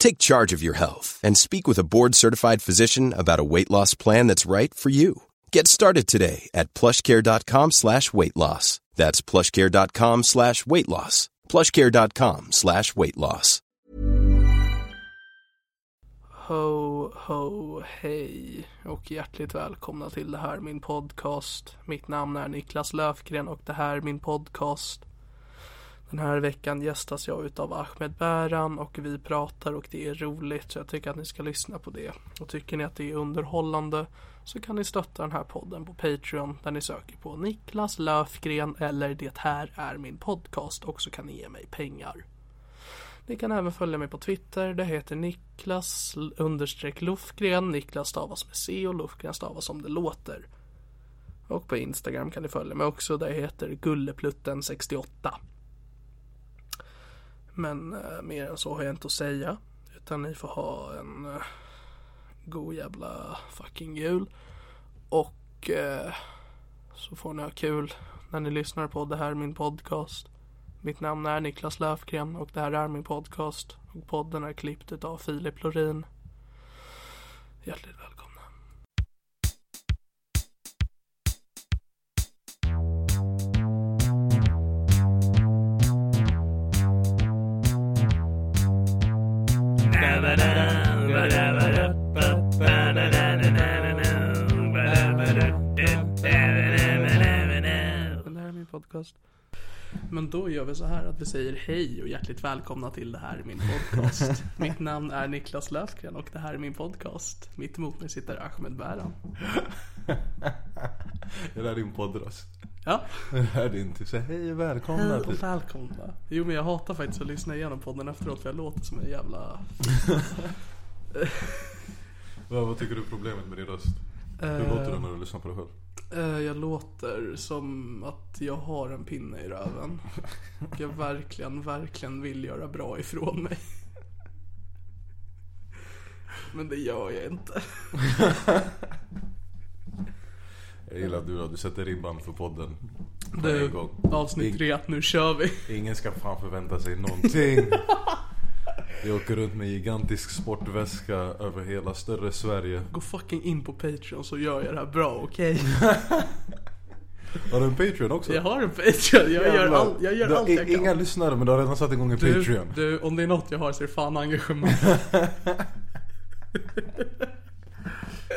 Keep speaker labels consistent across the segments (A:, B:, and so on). A: Take charge of your health and speak with a board-certified physician about a weight loss plan that's right for you. Get started today at plushcare.com slash weight loss. That's plushcare.com slash weight loss. Plushcare.com slash weight loss.
B: Ho, ho, hej och hjärtligt välkomna till det här min podcast. Mitt namn är Niklas Löfgren och det här är min podcast. Den här veckan gästas jag utav Ahmed Bäran och vi pratar och det är roligt så jag tycker att ni ska lyssna på det. Och tycker ni att det är underhållande så kan ni stötta den här podden på Patreon där ni söker på Niklas Löfgren eller Det här är min podcast och så kan ni ge mig pengar. Ni kan även följa mig på Twitter. Det heter Niklas understreck Lofgren. Niklas stavas med C och Lofgren stavas som det låter. Och på Instagram kan ni följa mig också. Där heter Gulleplutten68. Men eh, mer än så har jag inte att säga. Utan ni får ha en eh, god jävla fucking jul. Och eh, så får ni ha kul när ni lyssnar på det här, min podcast. Mitt namn är Niklas Löfgren och det här är min podcast. Och podden är klippt av Filip Lorin. Hjärtligt välkomna. Det här är min podcast. Men då gör vi så här att vi säger hej och hjärtligt välkomna till det här är min podcast. Mitt namn är Niklas Löfgren och det här är min podcast. Mitt emot mig sitter Ahmed Bäran.
C: Det där är din poddröst.
B: Ja,
C: Det här är din typ så här, hej välkomna Typ.
B: hej
C: till...
B: och välkomna. Jo men jag hatar faktiskt att lyssna igenom podden efteråt för jag låter som en jävla...
C: Vad, vad tycker du är problemet med din röst? Hur låter den när du lyssnar på dig själv?
B: Eh, Jag låter som att jag har en pinne i röven. Och jag verkligen, verkligen vill göra bra ifrån mig. Men det gör jag inte.
C: Jag gillar att du, då, du sätter ribban för podden. På
B: Du,
C: en gång.
B: avsnitt
C: Ing-
B: tre, nu kör vi.
C: Ingen ska fan förvänta sig någonting. Vi åker runt med gigantisk sportväska över hela större Sverige.
B: Gå fucking in på Patreon så gör jag det här bra, okej?
C: Har du en Patreon också?
B: Jag har en Patreon, jag gör, all, jag gör
C: Du har
B: allt jag
C: i- Inga
B: kan.
C: lyssnare men du har redan satt igång en
B: Du,
C: Patreon.
B: du, om det är något jag har så är det fan engagemang.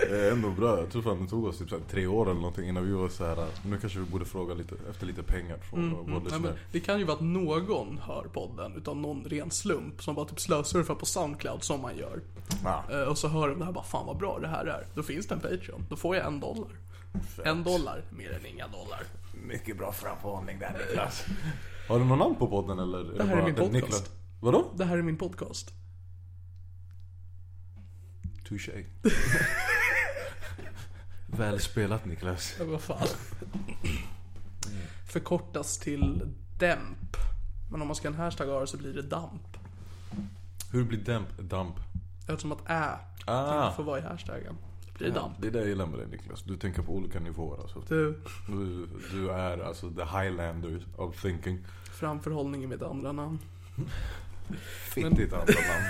C: Det är ändå bra. Jag tror fan det tog oss typ så här tre år eller någonting innan vi var så här. Nu kanske vi borde fråga lite, efter lite pengar från vår
B: Nej, Mm, men
C: lyssnare.
B: det kan ju vara att någon hör podden utav någon ren slump som bara typ slösurfar på Soundcloud som man gör.
C: Ah.
B: Eh, Och så hör de det här bara fan vad bra det här är. Då finns det en Patreon. Då får jag en dollar. En dollar, mer än inga dollar.
C: Mycket bra framförhållning där Niklas. Har du någon namn på podden eller? är
B: här är
C: bara
B: min podcast.
C: Niklas? Vadå?
B: Det här är min podcast.
C: Touché. Väl spelat Niklas.
B: Ja, vad fan.
C: Mm.
B: Förkortas till DEMP. Men om man ska ha en hashtag av det så blir det E DAMP.
C: Hur blir damp? Damp.
B: Eftersom att Ä
C: Ah.
B: får vara i hashtaggen. blir det
C: Ja,
B: damp.
C: Det är det jag gillar med dig Niklas. Du tänker på olika nivåer alltså.
B: Du,
C: Du, du är alltså the highlander of thinking.
B: framförhållning är mitt andra namn.
C: Fittigt andra namn.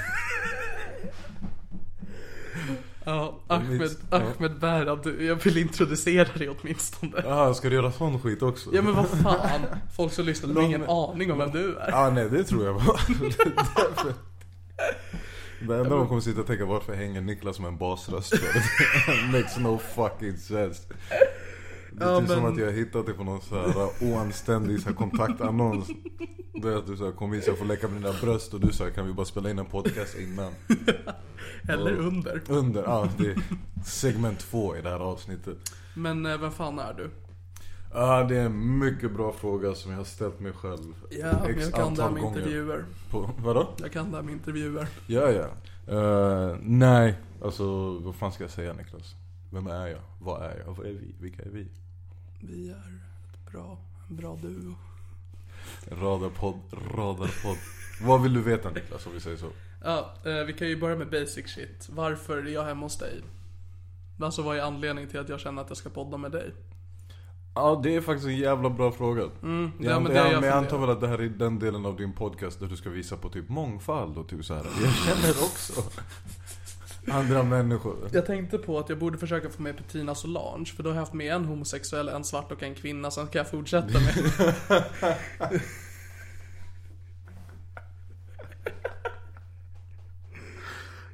B: Ja,
C: Jag minns-
B: Ahmed,
C: ja.
B: Ahmed Berhad, du, jag vill introducera dig åtminstone.
C: Ah, ska du göra sån skit också?
B: Ja men vad fan, folk som lyssnar de har ingen aning om vem du är.
C: Ah, nej det tror jag var. Därför- Det enda man kommer sitta och tänka varför hänger Niklas med en basröst för? Makes no fucking sense. Det är
B: Ja,
C: typ som
B: men-
C: att jag hittat det på någon så här oanständig så här kontaktannons. Då är att du så här, kom hit så jag får läcka mina bröst och du sa kan vi bara spela in en podcast innan?
B: Eller under.
C: Under, ja ah, det är segment två i det här avsnittet.
B: Men eh, vem fan är du?
C: Ah, det är en mycket bra fråga som jag har ställt mig själv
B: Ja, men jag kan det här med
C: gånger.
B: intervjuer.
C: På, vadå?
B: Jag kan det här med intervjuer.
C: Ja, ja. Eh, nej, alltså vad fan ska jag säga Niklas? Vem är jag? Vad är jag? Vad är vi? Vilka är vi?
B: Vi är ett bra, en bra duo.
C: Radarpodd, radarpodd. vad vill du veta Niklas om vi säger så?
B: Ja, eh, vi kan ju börja med basic shit. Varför är jag hemma hos dig? Alltså vad är anledningen till att jag känner att jag ska podda med dig?
C: Ja det är faktiskt en jävla bra fråga. Mm,
B: ja,
C: jag,
B: men det
C: jag,
B: har jag
C: men jag antar
B: funderat.
C: väl att det här är den delen av din podcast där du ska visa på typ mångfald och typ så här. Jag känner också andra människor.
B: Jag tänkte på att jag borde försöka få med Petina Solange, för då har jag haft med en homosexuell, en svart och en kvinna, sen kan jag fortsätta med...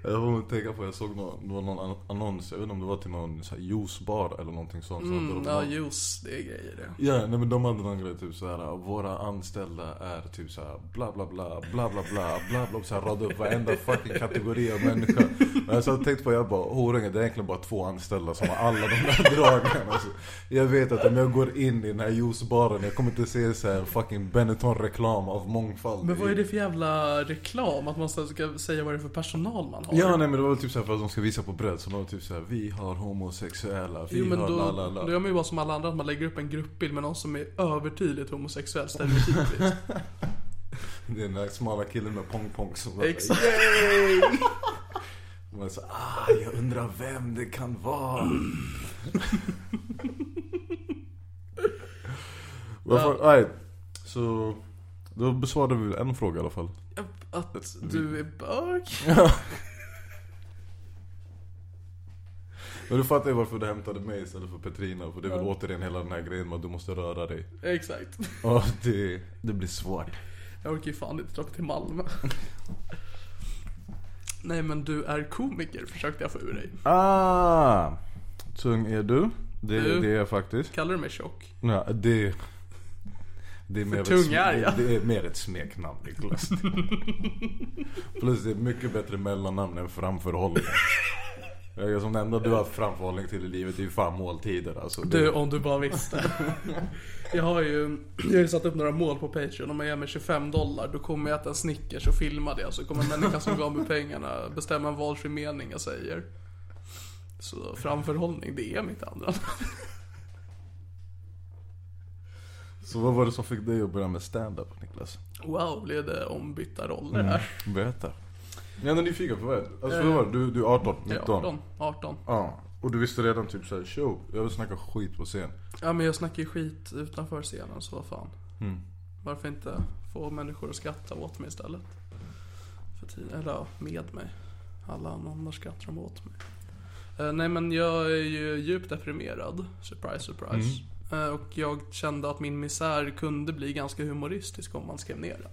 C: Jag kommer att tänka på, jag såg någon, det var någon an- annons, jag vet inte om det var till någon så här juicebar eller någonting sånt. så hade de
B: Mm, ja,
C: någon-
B: juice, det är grejer det.
C: Ja, nej men de hade någon grej typ såhär, våra anställda är typ såhär bla bla bla, bla bla bla, bla bla, såhär radade upp varenda fucking kategori av människa. Och jag så tänkte på, jag bara, horunge, det är egentligen bara två anställda som har alla de där dragen. Alltså, jag vet att om jag går in i den här juicebaren, jag kommer inte se såhär fucking Benetton-reklam av mångfald.
B: Men vad är det för jävla reklam? Att man ska säga vad det är för personal man har?
C: Ja nej men det var väl typ såhär för att de ska visa på bredd, så de var typ såhär, vi har homosexuella, vi
B: Jo men
C: har la
B: då,
C: la la.
B: då gör man ju bara som alla andra, att man lägger upp en gruppbild med någon som är övertydligt homosexuell stereotypiskt.
C: Det är den där smala killen med pong-pong som bara,
B: Exakt.
C: Man så, ah, jag undrar vem det kan vara. Varför, nej, så då besvarade vi en fråga i alla fall.
B: Att du är bög?
C: Men du fattar ju varför du hämtade mig istället för Petrina. För det är väl
B: Ja.
C: återigen hela den här grejen med att du måste röra dig.
B: Exakt.
C: Ja, det, det blir svårt.
B: Jag orkar ju fan inte dra upp till Malmö. Nej men du är komiker, försökte jag få ur dig.
C: Ah, tung är du. Det,
B: Du.
C: det är jag faktiskt.
B: Kallar du mig tjock?
C: Ja, det, det är mer
B: tung
C: ett sme-
B: är jag.
C: Det är mer ett smeknamn Niklas. Plus det är mycket bättre mellannamn än framförhållning. Jag är Som det enda du har framförhållning till i livet det är ju fan måltider alltså. Det-
B: Du, om du bara visste. Jag har ju, jag har ju satt upp några mål på Patreon. Om jag ger mig 25 dollar, då kommer jag äta en Snickers och filma det. Så kommer människan som gav mig pengarna bestämma en valfri mening jag säger. Så framförhållning, det är mitt andra
C: Så vad var det som fick dig att börja med stand-up Niklas?
B: Wow, blev det ombytta roller här.
C: Berätta. Jag är nyfiken på vad är det? Alltså vad var det? Du, du är 18, 19?
B: 18, 18.
C: Ja. Och du visste redan typ såhär show, jag vill snacka skit på scen.
B: Ja men jag snackar ju skit utanför scenen så vad fan. Varför inte få människor att skratta åt mig istället? För tid, eller ja, med mig. Alla andra skrattar de åt mig. Eh, nej men jag är ju djupt deprimerad. Surprise surprise. Eh, och jag kände att min misär kunde bli ganska humoristisk om man skrev ner den.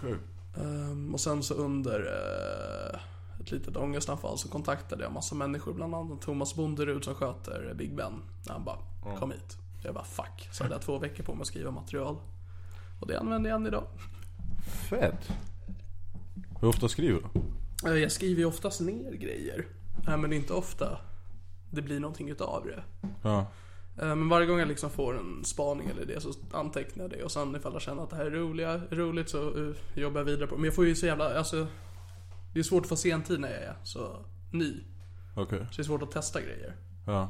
C: Kul.
B: Ehm, och sen så under eh, ett litet ångestanfall så kontaktade jag massa människor, bland annat Thomas Bonderud som sköter Big Ben. När han bara, kom hit. Jag bara, fuck. Så hade jag två veckor på mig att skriva material. Och det använder jag än idag.
C: Fett. Hur ofta skriver du?
B: Eh, Jag skriver ju oftast ner grejer. Eh, Men inte ofta det blir någonting utav det.
C: Ja.
B: Eh, Men varje gång jag liksom får en spaning eller det så antecknar jag det och sen ifall jag känner att det här är roliga, roligt så eh, jobbar jag vidare på det. Men jag får ju så jävla, alltså Det är svårt att få sentid när jag är så ny.
C: Okej.
B: Så det är svårt att testa grejer. Eh,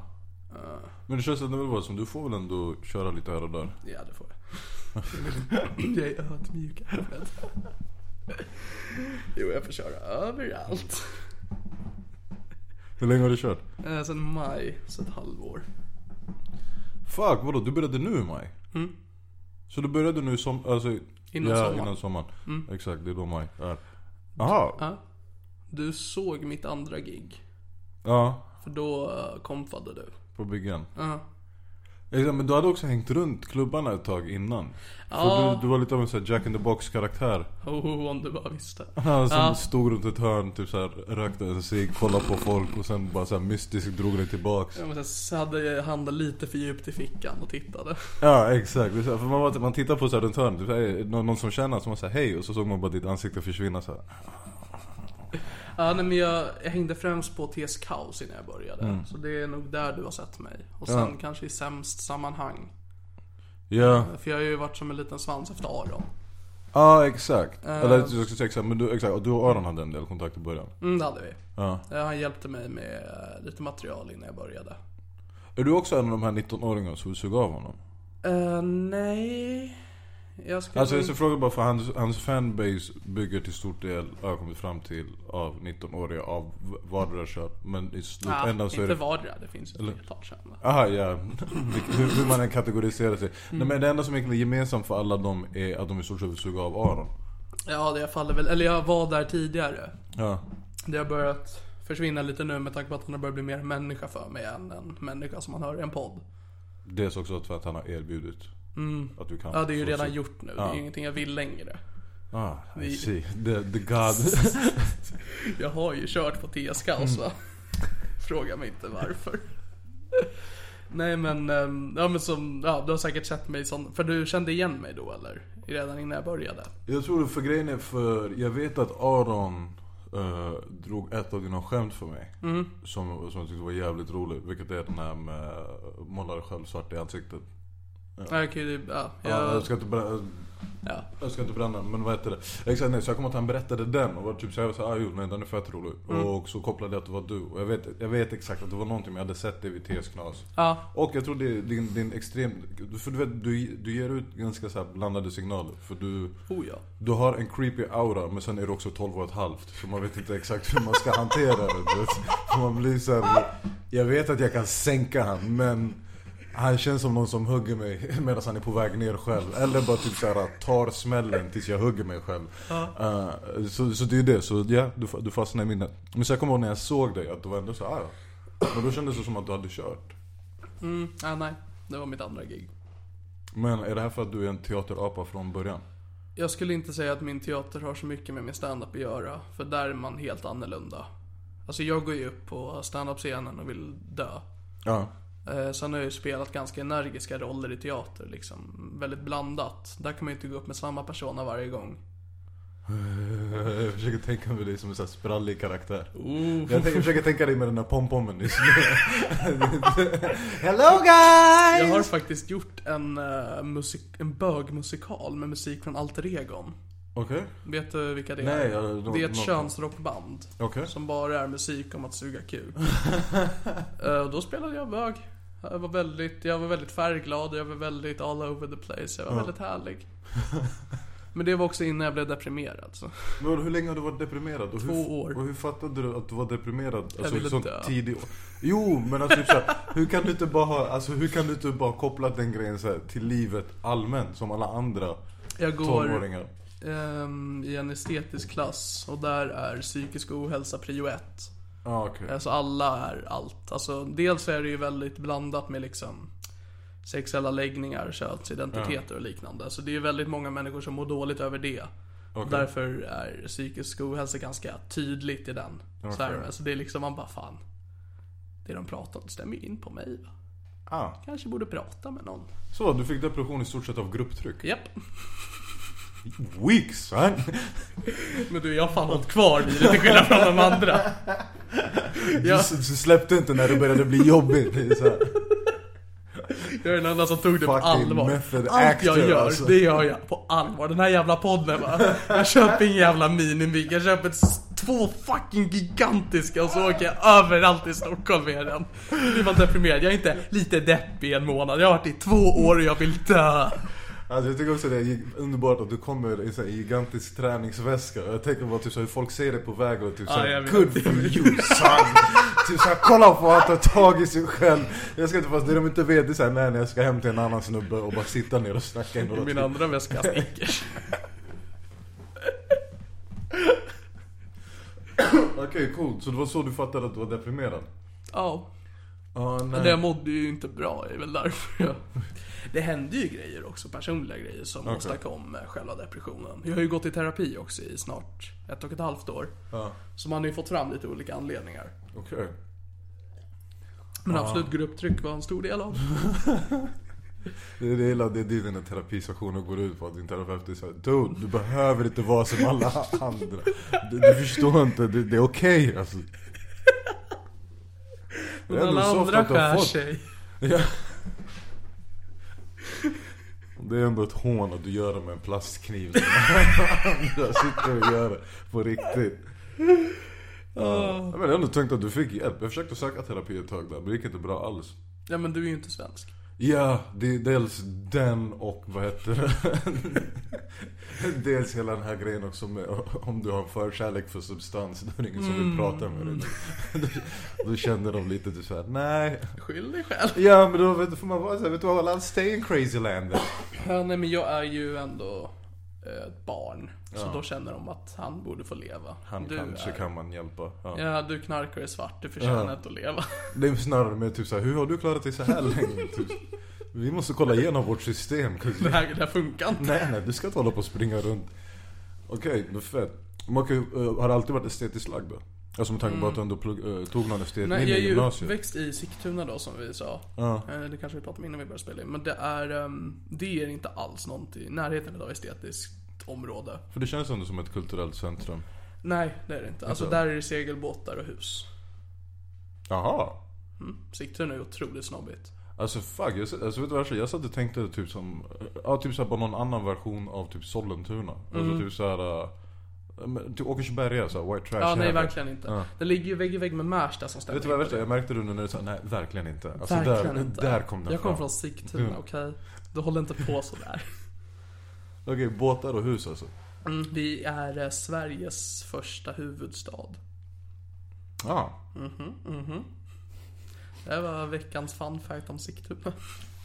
C: Ja. Men det känns ändå väl som du får väl ändå köra lite här och där?
B: Ja, det får jag. jag är ödmjuk. Ahmed. Jo, jag får köra överallt.
C: Hur länge har du kört?
B: Eh, sen maj, så ett halvår.
C: Fuck, vadå? Du började nu i maj?
B: Mm.
C: Så du började nu som, alltså,
B: Innan
C: ja,
B: sommaren.
C: innan sommaren. Exakt, det är då maj är. Aha.
B: Ja. Du såg mitt andra gig.
C: Ja,
B: För då eh, kompade du.
C: på byggen.
B: Ja.
C: Exakt, men du hade också hängt runt klubbarna ett tag innan. För
B: Ja.
C: du, du var lite av en sån här Jack in the box karaktär.
B: Oh, om du bara visste.
C: Han som
B: Ja.
C: stod runt ett hörn, typ så här, rökte en cigg, kollade på folk och sen bara så här mystiskt drog den tillbaks.
B: Ja, men sen hade jag handen lite för djupt i fickan och tittade.
C: Ja exakt, Det är så här, för man, var, man tittar på så här runt hörnet, typ, så här, är det någon, någon som känner som man säger hej och så såg man bara ditt ansikte försvinna så här.
B: Ja, nej, men jag, jag hängde främst på TS Kaos innan jag började. Så det är nog där du har sett mig. Och sen
C: Ja.
B: kanske i sämst sammanhang.
C: Ja,
B: För jag har ju varit som en liten svans efter Aron.
C: ja exakt. Eller jag skulle säga exakt, men du, exakt, och du och Aron hade en del kontakt i början.
B: Mm, det hade vi.
C: Ja.
B: Eh, Han hjälpte mig med eh, lite material innan jag började.
C: Är du också en av de här 19-åringarna som sög av honom?
B: Eh, nej... Jag skulle...
C: Alltså jag frågar bara för hans, hans fanbase bygger till stor del, har jag kommit fram till, av 19-åriga av v- vardera kön. Men i
B: Ja,
C: slutändan så är
B: inte
C: det...
B: vardera, det finns ju ett flertal kända.
C: Aha, ja. Vilk- Hur, hur man än kategoriserar sig.
B: Mm.
C: Nej, men det enda som egentligen är gemensamt för alla dem är att de i stort sett vill suga av Aron.
B: Ja, det jag faller väl. Eller jag var där tidigare.
C: Ja.
B: Det har börjat försvinna lite nu med tanke på att han har börjat bli mer människa för mig än en människa som man hör i en podd.
C: Dels också för att han har erbjudit att du kan.
B: Mm. Ja, det är ju
C: få
B: redan
C: suga-
B: gjort nu. Det
C: Ja.
B: är ju ingenting jag vill längre.
C: Ah, I
B: Vi-
C: see. The, the God.
B: Jag har ju kört på TS Kaos va? Fråga mig inte varför. Nej men, ehm, ja men som, ja du har säkert sett mig sån, för du kände igen mig då eller? Redan innan jag började.
C: jag tror det för grejen är för, jag vet att Aron eh, drog ett av dina skämt för mig.
B: Mm.
C: Som, som jag tyckte var jävligt roligt. Vilket är den här med eh, måla dig själv svart i ansiktet.
B: Ja. Okej, det- ja,
C: Ja,
B: jag,
C: Jag ska inte bara...
B: ja.
C: Jag ska inte bränna den, men vad heter det? Exakt, nej, så jag kommer att han berättade den och var typ såhär, ah, jo nej den är fett rolig.
B: Mm.
C: Och så kopplade jag att det var du. Och jag vet, jag vet exakt att det var någonting men jag hade sett det vid TS Knas.
B: ja.
C: Och jag tror det är din, din extrem, för du vet, du, du ger ut ganska så här blandade signaler. För du,
B: Oh ja.
C: du har en creepy aura men sen är du också 12 och ett halvt. Så man vet inte exakt hur man ska hantera det. du vet. Så man blir så här, jag vet att jag kan sänka han men han känns som någon som hugger mig medan han är på väg ner själv. Eller bara typ så här, tar smällen tills jag hugger mig själv. Eh, så, så det är det. Så ja, du, fa- du fastnar i minnet. Men så jag kommer ihåg när jag såg dig att du var ändå så här. "Ah, ja." Men då kändes det som att du hade kört.
B: Mm, ja, nej. Det var mitt andra gig.
C: Men är det här för att du är en teaterapa från början?
B: Jag skulle inte säga att min teater har så mycket med min standup att göra, för där är man helt annorlunda. Alltså jag går ju upp på standup-scenen och vill dö.
C: Ja.
B: Eh, sen har jag ju spelat ganska energiska roller i teater, liksom. Väldigt blandat. Där kan man ju inte gå upp med samma persona varje gång.
C: Jag försöker tänka mig dig som en sån här sprallig karaktär. Jag, tänker, försöker tänka dig med den där pompommen nyss. Hello
B: Jag har
C: guys!
B: faktiskt gjort en, eh, musik- en bögmusikal med musik från Alter Egon.
C: Okej.
B: Vet du vilka det är?
C: Nej, jag-
B: det är ett
C: nå-
B: könsrockband.
C: Okej.
B: Som bara är musik om att suga kuk. Eh, och då spelade jag bög. Jag var, väldigt, jag var väldigt färgglad, jag var väldigt all over the place, jag var väldigt härlig. Men det var också innan jag blev deprimerad. Så.
C: Men hur länge har du varit deprimerad? Och hur,
B: Två år.
C: Och hur fattade du att du var deprimerad? Alltså,
B: ville
C: sånt
B: dö.
C: Tidig... Jo, men alltså typ så här, hur kan du inte bara ha, alltså, hur kan du inte bara koppla den grejen så här, till livet allmänt som alla andra
B: Jag går
C: tonåringar?
B: ehm, i en estetisk klass och där är psykisk ohälsa prio ett.
C: Ja, Ah, okej.
B: Alltså alla är allt. Alltså, dels är det ju väldigt blandat med liksom sexuella läggningar, könsidentiteter och liknande. Så det är ju väldigt många människor som mår dåligt över det.
C: Okej.
B: Därför är psykisk ohälsa ganska tydligt i den. Så, här,
C: Okej.
B: så det är liksom, man bara fan. Det de pratar om stämmer ju in på mig. Va?
C: Ah.
B: Kanske borde prata med någon.
C: Så, du fick depression i stort sett av grupptryck?
B: Japp.
C: Weak son!
B: Men du, jag har fan hållit kvar vid det till skillnad från de andra.
C: Du
B: Ja.
C: s- s- släppte inte när det började bli jobbigt. Det är så här.
B: Jag är den enda som tog det på
C: Fucking
B: allvar.
C: method
B: Allt jag
C: actor,
B: gör,
C: alltså.
B: det gör jag på allvar. Den här jävla podden va. Jag köper en jävla minimig. Jag köper s- två fucking gigantiska och så åker jag överallt i Stockholm med den. Nu är man deprimerad. Jag är inte lite deppig en månad. Jag har varit i två år och jag vill dö.
C: Alltså jag tycker också det är underbart att du kommer i så här gigantisk träningsväska. Jag tänker bara typ så här, hur folk ser dig på vägen och typ
B: Ja, jag
C: såhär
B: vet.
C: Good for you son! typ såhär kolla på att ta tag i sig själv. Jag ska inte fast det de inte vet det är såhär nej nej, jag ska hem till en annan snubbe och bara sitta ner och typ." snacka i
B: I
C: några
B: min
C: timmar.
B: andra väska Snickers.
C: Okej coolt, så det var så du fattade att du var deprimerad?
B: Ja.
C: Ja nej.
B: Men jag mådde ju inte bra, det är väl därför jag... Det hände ju grejer också, personliga grejer som
C: Okej.
B: åstadkom eh, själva depressionen. Jag har ju gått i terapi också i snart ett och ett halvt år.
C: Ja,
B: Så man har ju fått fram lite olika anledningar.
C: okej.
B: Men absolut, grupptryck var en stor del av.
C: Det är det hela det är det dina terapistationer går ut på. Att din terapeut är såhär Dude, du behöver inte vara som alla andra. Du, du förstår inte, det, det är okej alltså. Det är ändå
B: alla
C: soft
B: andra
C: att du har
B: skär
C: fått-
B: sig.
C: Ja. Det är ändå ett hån att du gör det med en plastkniv. som andra sitter och gör det på riktigt. Ja. Men jag har ändå tänkt att du fick hjälp. Jag försökte söka terapi ett tag där, men det gick inte bra alls.
B: Ja men du är ju inte svensk.
C: Ja, det är dels den och vad heter det? dels hela den här grejen också med om du har en förkärlek för substans, då är det ingen som vill prata med dig. Då, då känner de lite typ såhär, nej.
B: Skyll dig själv.
C: Ja men då vet- får man vara såhär, vet du vad, I'll stay in crazy land.
B: Ja, nej men jag är ju ändå eh, ett barn. Så då känner de att han borde få leva.
C: Han
B: du
C: kanske
B: är...
C: kan man hjälpa. Ja.
B: Ja, du knarkar är svart, du förtjänar inte att leva.
C: Det är snarare med typ såhär, hur har du klarat dig så här länge? Typ. Vi måste kolla igenom vårt system.
B: Det här, det här funkar inte.
C: Nej, nej, du ska inte hålla på och springa runt. Okej, men fett. Men okej, eh, har det alltid varit estetiskt lagd då? Alltså med tanke på att du ändå plugg, eh, tog
B: Mm.
C: någon
B: Nej,
C: estetlinje
B: jag är
C: i
B: ju
C: gymnasiet.
B: uppväxt i Sigtuna då som vi sa.
C: Ja.
B: Eh, Det kanske vi pratade om innan vi började spela in. Men det är, ehm, det är inte alls någonting i närheten av estetiskt område.
C: För det känns ändå som ett kulturellt centrum.
B: Nej, det är det inte. Alltså
C: Inte?
B: där är det segelbåtar och hus. Mm.
C: Jaha.
B: Sigtuna är otroligt snobbigt.
C: Alltså fuck, jag, alltså, vet du vad jag, jag satt och tänkte typ som, ja typ såhär bara någon annan version av typ Sollentuna.
B: Mm.
C: Alltså typ såhär, eh, men typ Åkersberga såhär white trash.
B: Ja, nej
C: jävlar.
B: verkligen inte.
C: Ja.
B: Det ligger ju vägg i vägg med Märsta som stämmer
C: Vet du vad jag
B: in på
C: värsta, jag märkte det nu när du sa nej verkligen inte. Alltså
B: Verkligen
C: där,
B: inte.
C: där kom den
B: Jag kommer
C: fram.
B: från Sigtuna,
C: Mm.
B: okej? Du håller inte på sådär.
C: Okej, båtar och hus alltså.
B: Mm, vi är eh, Sveriges första huvudstad.
C: Ja.
B: Det här var veckans fun fact om Sigtuna.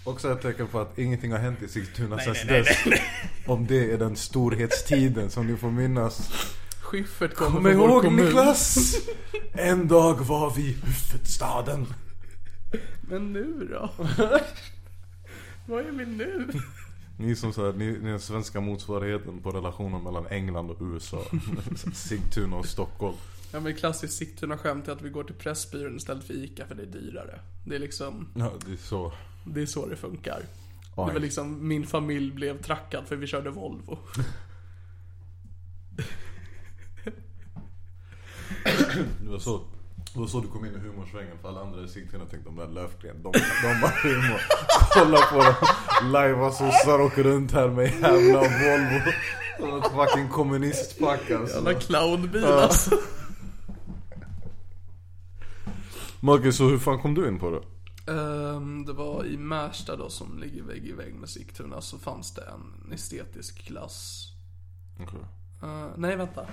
C: Också ett tecken på att ingenting har hänt i Sigtuna
B: Nej,
C: sedan
B: nej, nej,
C: dess. Om det är den storhetstiden som ni får minnas.
B: Schyffert kommer
C: Kom
B: från vår
C: ihåg
B: kommun.
C: Niklas! En dag var vi huvudstaden.
B: Men nu då? Vad är vi nu?
C: Ni är som så här, ni, ni är den svenska motsvarigheten på relationen mellan England och USA. Sigtuna och Stockholm.
B: Ja men klassiskt Sigtuna-skämt är att vi går till Pressbyrån istället för ICA för det är dyrare. Det är liksom,
C: Ja, det är så.
B: det är så det funkar. Det
C: Oj.
B: var liksom, min familj blev trackad för vi körde Volvo.
C: Det var så. Det var så du kom in i humorsvängen för alla andra i Sigtuna tänkte de där Löfgren, de, de har humor. Kolla på dem. Lajva sossar åker runt här med jävla Volvo. Som ett fucking kommunistpack
B: Jävla
C: alltså.
B: clownbil
C: Ja.
B: alltså.
C: Marcus, så hur fan kom du in på det?
B: Ehm, det var i Märsta då som ligger vägg i vägg med Sigtuna så fanns det en estetisk klass.
C: Okej.
B: Eh, nej vänta.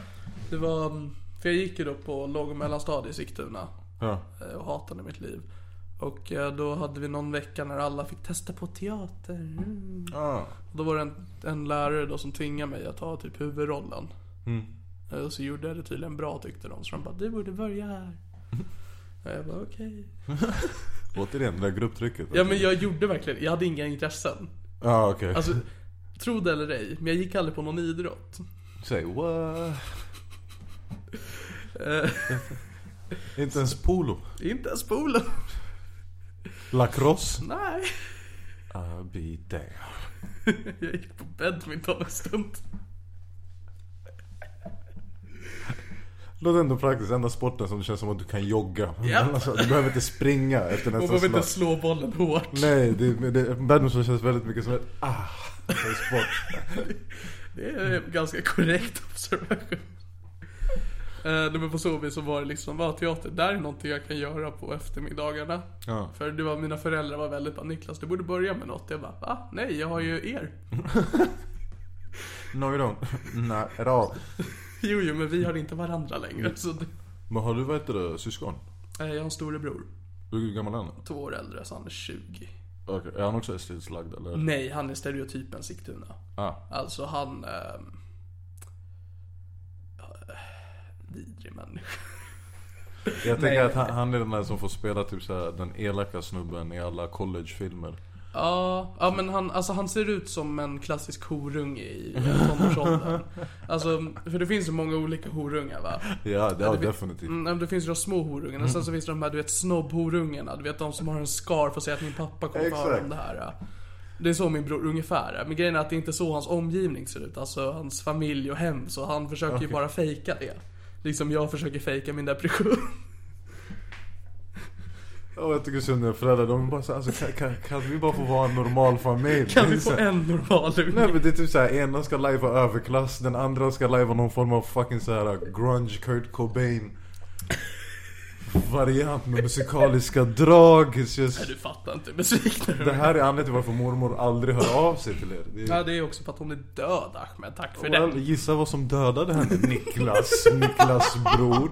B: Det var, mm, för jag gick ju då på låg och mellanstadiet i Sigtuna
C: Ja.
B: eh, och hatade mitt liv. Och eh, då hade vi någon vecka när alla fick testa på teater. Mm.
C: Ah.
B: Och då var det en, en lärare då som tvingade mig att ta typ huvudrollen. Eh, Och så gjorde jag det tydligen bra tyckte de. Så de bara, du borde börja här. Och jag bara, okej.
C: Återigen, det där grupptrycket.
B: Ja men jag gjorde verkligen, jag hade inga intressen.
C: Ja ah, okej.
B: Alltså, tro det eller ej, men jag gick aldrig på någon idrott.
C: Säg what? Eh. Inte ens polo.
B: Inte ens poolen.
C: Lacrosse.
B: Nej.
C: I'll be there.
B: Jag gick på badminton en stund.
C: Låter ändå praktiskt, enda sporten som det känns som att du kan jogga.
B: Ja.
C: Alltså, du behöver inte springa efter
B: Man
C: nästa
B: behöver inte
C: slag.
B: slå bollen hårt.
C: Nej, det, men det, badminton känns väldigt mycket som ett ah, det är sport.
B: Det är en ganska korrekt observation. Eh, nej, men på så vis så var det liksom, va, teater, där är någonting jag kan göra på eftermiddagarna.
C: Ja.
B: För det var, mina föräldrar var väldigt bara, Niklas du borde börja med något. Jag bara, va? Nej, jag har ju er.
C: No you don't. Nej, at all.
B: jo, jo, men vi har inte varandra längre. Så det,
C: Men har du, vad heter det, syskon?
B: eh, jag har en storebror,
C: Hur gammal är han?
B: två år äldre, så han är 20.
C: Okej, är han också estetiskt lagd eller?
B: Nej, han är stereotypen Sigtuna.
C: Ah,
B: Alltså han... ehm, eh, Vidrig människa.
C: jag tänker
B: Nej.
C: att han, han är den där som får spela typ så här, den elaka snubben i alla collegefilmer.
B: Ja, ja men han, alltså han ser ut som en klassisk horunge i tonårsåldern. Alltså, för det finns så många olika horungar va?
C: Ja, det, ja,
B: det fin-
C: definitivt.
B: Mm, nej, men det finns ju de små horungarna, sen
C: Mm.
B: så finns det de här du vet snobbhorungarna, du vet de som har en scarf och säger att min pappa kommer få höra
C: Exakt.
B: om det här. ja. Det är så min bror ungefär, men grejen är att det är inte så hans omgivning ser ut, alltså hans familj och hem, så han försöker ju bara fejka det. Liksom jag försöker fejka min depression.
C: Ja, jag tycker synd om föräldrar. De är bara så här, alltså, kan, kan, kan vi bara få vara en normal familj?
B: Kan vi få
C: Det är så här-
B: en normal
C: Nej
B: unge?
C: men det är typ såhär, ena ska lajva överklass, den andra ska lajva någon form av fucking såhär grunge Kurt Cobain Variant med musikaliska drag, it's
B: Nej,
C: just
B: du fattar inte hur besviken
C: Det här är anledningen till varför mormor aldrig hör av sig till er det
B: Ja,
C: är,
B: det är också för att hon är död Ahmed, tack för
C: well,
B: det.
C: Gissa vad som dödade henne? Niklas, Niklas bror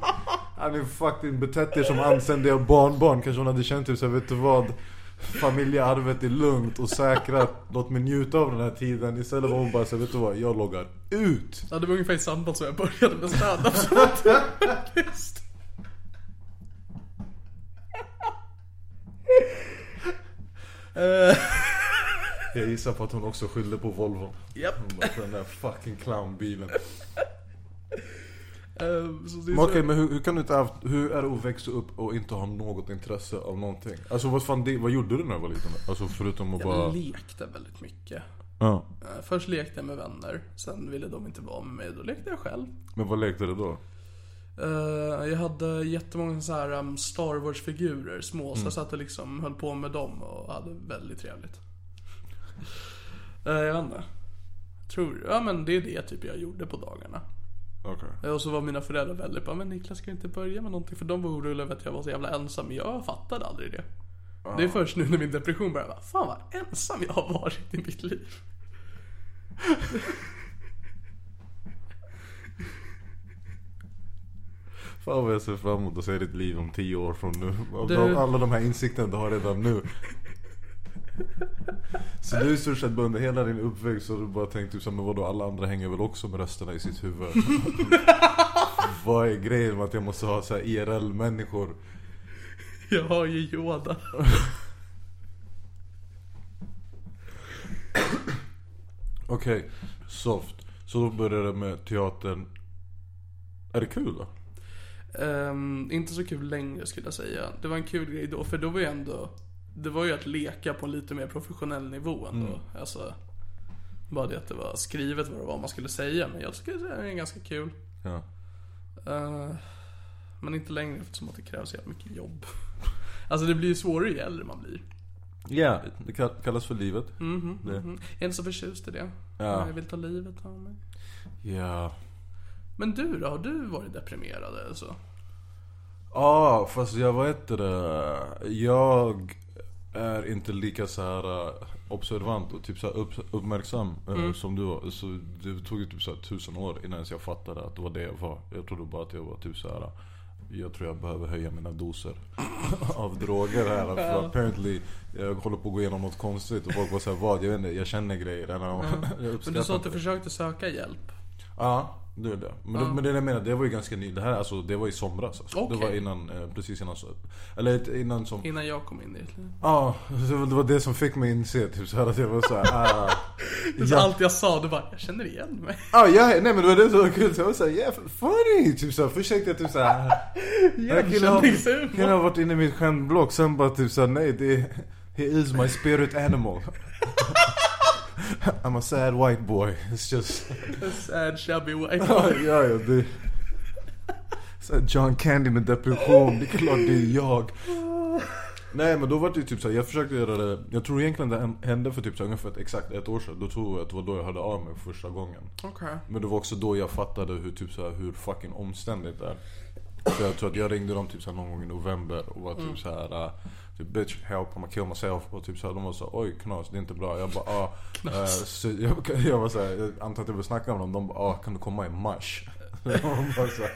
C: Han är fucking betett er som anständiga barnbarn Kanske hon hade känt typ såhär, vet du vad? Familjearvet är lugnt och säkrat Låt mig njuta av den här tiden Istället var hon bara såhär, vet du vad? Jag loggar ut
B: Ja, det var ungefär i samband som jag började med standup som jag faktiskt. Eh,
C: Jag gissar på att hon också skyllde på Volvo.
B: Japp.
C: Hon bara, den där fucking clownbilen.
B: eh, så det är
C: Men
B: så-
C: okej, men hur, hur kan du inte ha haft, hur är det att växa upp och inte ha något intresse av någonting? Alltså vad fan, det, vad gjorde du när du var liten? Alltså förutom att bara...
B: Jag lekte väldigt mycket.
C: Ja.
B: Eh, Först lekte jag med vänner, sen ville de inte vara med mig, då lekte jag själv.
C: Men vad lekte du då?
B: Eh, jag hade jättemånga så här um, Star Wars-figurer, små, så jag satt och liksom höll på med dem och hade väldigt trevligt. Eh, jag vet inte. Tror, ja men det är det typ jag gjorde på dagarna.
C: Okej.
B: Eh, Och så var mina föräldrar väldigt bara, men Niklas ska du inte börja med någonting? För de var oroliga över att jag var så jävla ensam, men jag fattade aldrig det. Det är först nu när min depression börjar, bara, fan vad ensam jag har varit i mitt liv.
C: Fan vad jag ser fram emot att se ditt liv om tio år från nu. Av
B: Du-
C: de- Alla de här insikterna du har redan nu. Så du i stort sett bara under hela din uppväxt så har du bara tänkt typ såhär, men vadå alla andra hänger väl också med rösterna i sitt huvud? Vad är grejen med att jag måste ha E såhär IRL-människor?
B: Jag har ju Yoda.
C: Okej, soft. Så då började det med teatern. Är det kul då?
B: Ehm, inte så kul längre skulle jag säga. Det var en kul grej då, för då var ju ändå... Det var ju att leka på en lite mer professionell nivå ändå.
C: Mm.
B: Alltså, bara det att det var skrivet vad det var man skulle säga, men jag skulle säga det är ganska kul.
C: Ja.
B: Eh, men inte längre eftersom att det krävs jävligt mycket jobb. Alltså det blir ju svårare ju äldre man blir.
C: Ja, det kall- kallas för livet. Det-
B: Mm. Jag är inte så förtjust i det.
C: Ja.
B: Jag vill ta livet av mig.
C: Ja.
B: Men du då? Har du varit deprimerad alltså? eller så?
C: Ja, fast jag vet det. Jag är inte lika så här eh, observant och typ så här upp, uppmärksam eh,
B: Mm.
C: som du var. Så det tog ju typ så här tusen år innan jag fattade att det var det jag var. Jag trodde bara att jag var typ så här. eh, Jag tror jag behöver höja mina doser av droger här. För apparently, jag håller på att gå igenom något konstigt och folk var såhär vad? Jag vet inte, jag känner grejer. Eller, jag
B: Men du sa
C: uppskattar
B: att
C: inte
B: du
C: det.
B: försökte söka hjälp.
C: Ja, det är det. Men, det, men det jag menar, det var ju ganska nytt. Det här alltså, det var i somras. Alltså.
B: Okej.
C: Det var innan, eh, precis innan så, Eller innan som...
B: Innan jag kom in i ditt liv.
C: Ja, det var- det var det som fick mig inse typ så här att jag var såhär, ah...
B: Så
C: ja,
B: Allt jag sa, du bara, jag känner igen mig.
C: ah, ja, nej men det var det som var kul. Så jag var såhär, yeah funny! Typ såhär, först tänkte jag typ såhär... Den här killen har,
B: Igenkänningshumor.
C: killen har varit inne i mitt skämtblock, sen bara typ såhär, nej det är... He is my spirit animal. I'm a sad white boy. It's just...
B: A sad chubby white
C: Ja,
B: boy.
C: ja, ja det... Så här, John Candy med depression, det är klart det är jag. Nej men då var det ju typ såhär, jag försökte göra det Jag tror egentligen det hände för typ så här, ungefär ett- exakt ett år sedan Då tror jag att det var då jag hörde av mig första gången
B: Okej.
C: Men det var också då jag fattade hur, typ, så här, hur fucking omständigt det är. För jag tror att jag ringde dem typ, så här, någon gång i november och var
B: Mm.
C: typ så här. Uh, typ, bitch help, I'm gonna kill myself. Och typ, så här, de var så här, oj knas det är inte bra. Jag bara ah. eh, så jag, jag var så här, jag antar att jag vill snacka med dem. De bara ah, kan du komma i mars? De bara så, här,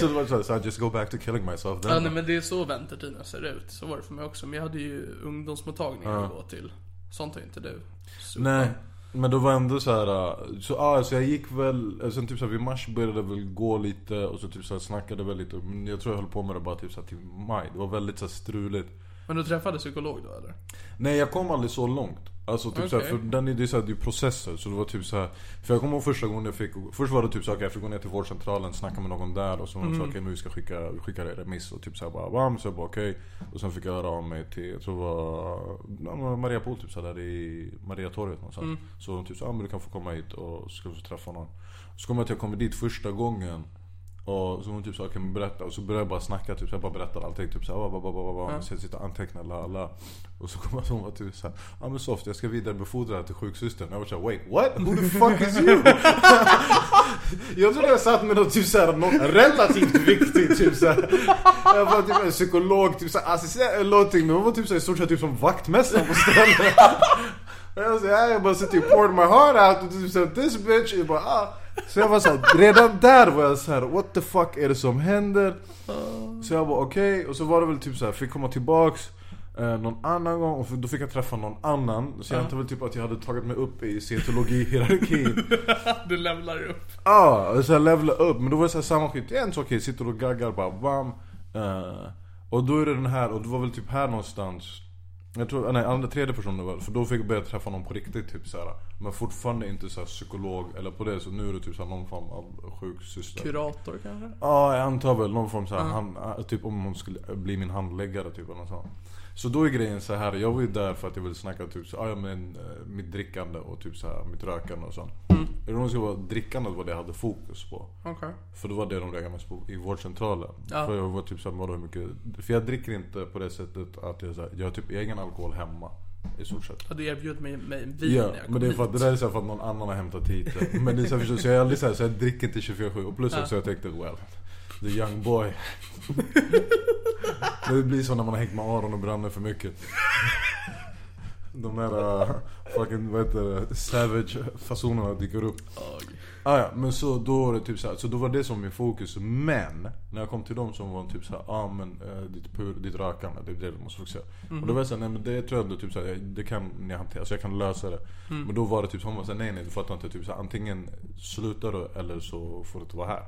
C: så det var så, här, så I just go back to killing myself then.
B: Ja, nej, men det är så väntetiderna ser ut. Så var det för mig också. Men jag hade ju ungdomsmottagningar att gå till. Sånt har ju inte du. Så-
C: Nej, men då var ändå så här. äh, Så, ah, så jag gick väl, äh, sen typ så här, vid mars började jag väl gå lite och så typ så här, snackade väl lite. Men jag tror jag höll på med det bara typ så här, till maj. Det var väldigt så här, struligt.
B: Men du träffade psykolog då eller?
C: Nej jag kom aldrig så långt. Alltså typ så här,
B: Okej.
C: för den är, det är så här, det är processer. Så det var typ så här, För jag kommer ihåg första gången jag fick, först var det typ så här, okej, jag fick gå ner till vårdcentralen, snacka med någon där och så var de så okej men vi ska skicka, vi skickar er remiss och typ så här bara bam, så jag bara okej. Och sen fick jag höra av mig till, jag tror det var ja, Maria Pool typ så här, där i Mariatorget någonstans. Så de typ så här, ah, men du kan få komma hit och så ska vi få träffa någon. Så kom jag att jag kom dit första gången. Och så hon typ sa okej men berätta och så började jag bara snacka typ så jag bara berättade allting typ såhär mm. Sen sitter och antecknar la la Och så kommer hon och typ såhär Ja men soft jag ska vidarebefordra det här till sjuksystern Jag var såhär wait what? Who the fuck is you? jag trodde jag satt med något typ såhär något relativt viktigt typ såhär Jag var typ en psykolog typ såhär assistent eller någonting Men hon var typ såhär i stort sett typ som vaktmästaren på stället och Jag, så, jag bara sitter och poured my heart out och du sa this bitch. Jag bara, ah. Så jag var så här, redan där var jag så här, what the fuck är det som händer? Så jag bara okej, och så var det väl typ så här, fick komma tillbaks eh, någon annan gång och då fick jag träffa någon annan. Så jag antar väl typ att jag hade tagit mig upp i scientologihierarkin.
B: Du levlar upp.
C: Ja, och så jag levla upp. Men då var det så här samma skit igen. Så okej, sitter och gaggar bara bam. Eh, och då är det den här, och det var väl typ här någonstans. Jag tror, nej andra tredje personen var För då fick jag börja träffa någon på riktigt typ så här. Men fortfarande inte så här psykolog eller på det. Så nu är det typ så här någon form av sjuksyster.
B: Kurator kanske?
C: Ja, jag antar väl någon form såhär, han, typ om hon skulle bli min handläggare typ eller något sånt. Så då är grejen så här, jag var ju där för att jag ville snacka typ så, ah, ja, men, eh, mitt drickande och typ så här, mitt rökande och sånt. Ironiskt var drickandet var det jag hade fokus på.
B: Mm. Okej.
C: För det var det de reagerade mest på i vårdcentralen.
B: Ja.
C: För jag var typ såhär, vadå hur mycket? För jag dricker inte på det sättet att jag såhär, jag har typ egen alkohol hemma. I stort sett.
B: Ja, du erbjöd mig, mig en vin
C: Ja,
B: när jag kom
C: men det är för att
B: hit.
C: det där är så här för att någon annan har hämtat hit det. Men det är så här, förstås, så jag är aldrig så här, så jag dricker inte 24-7. Och plus också jag tänkte, well, the young boy. det blir så när man har hängt med Aron och Branne för mycket. De där äh, fucking, vad heter det, savage fasonerna dyker upp.
B: Jag-
C: Ah, ja, men så då var det typ så, här, så då var det som min fokus. Men när jag kom till dem som var typ så här, ah, men eh, ditt, pur, ditt rökande, det är det du måste fokusera. Och då var jag såhär, nej men det tror jag ändå typ så här, jag- det kan ni hantera, så jag kan lösa det. Men då var det typ som hon var såhär, nej nej du fattar inte. Typ så här, antingen slutar du eller så får du inte vara här.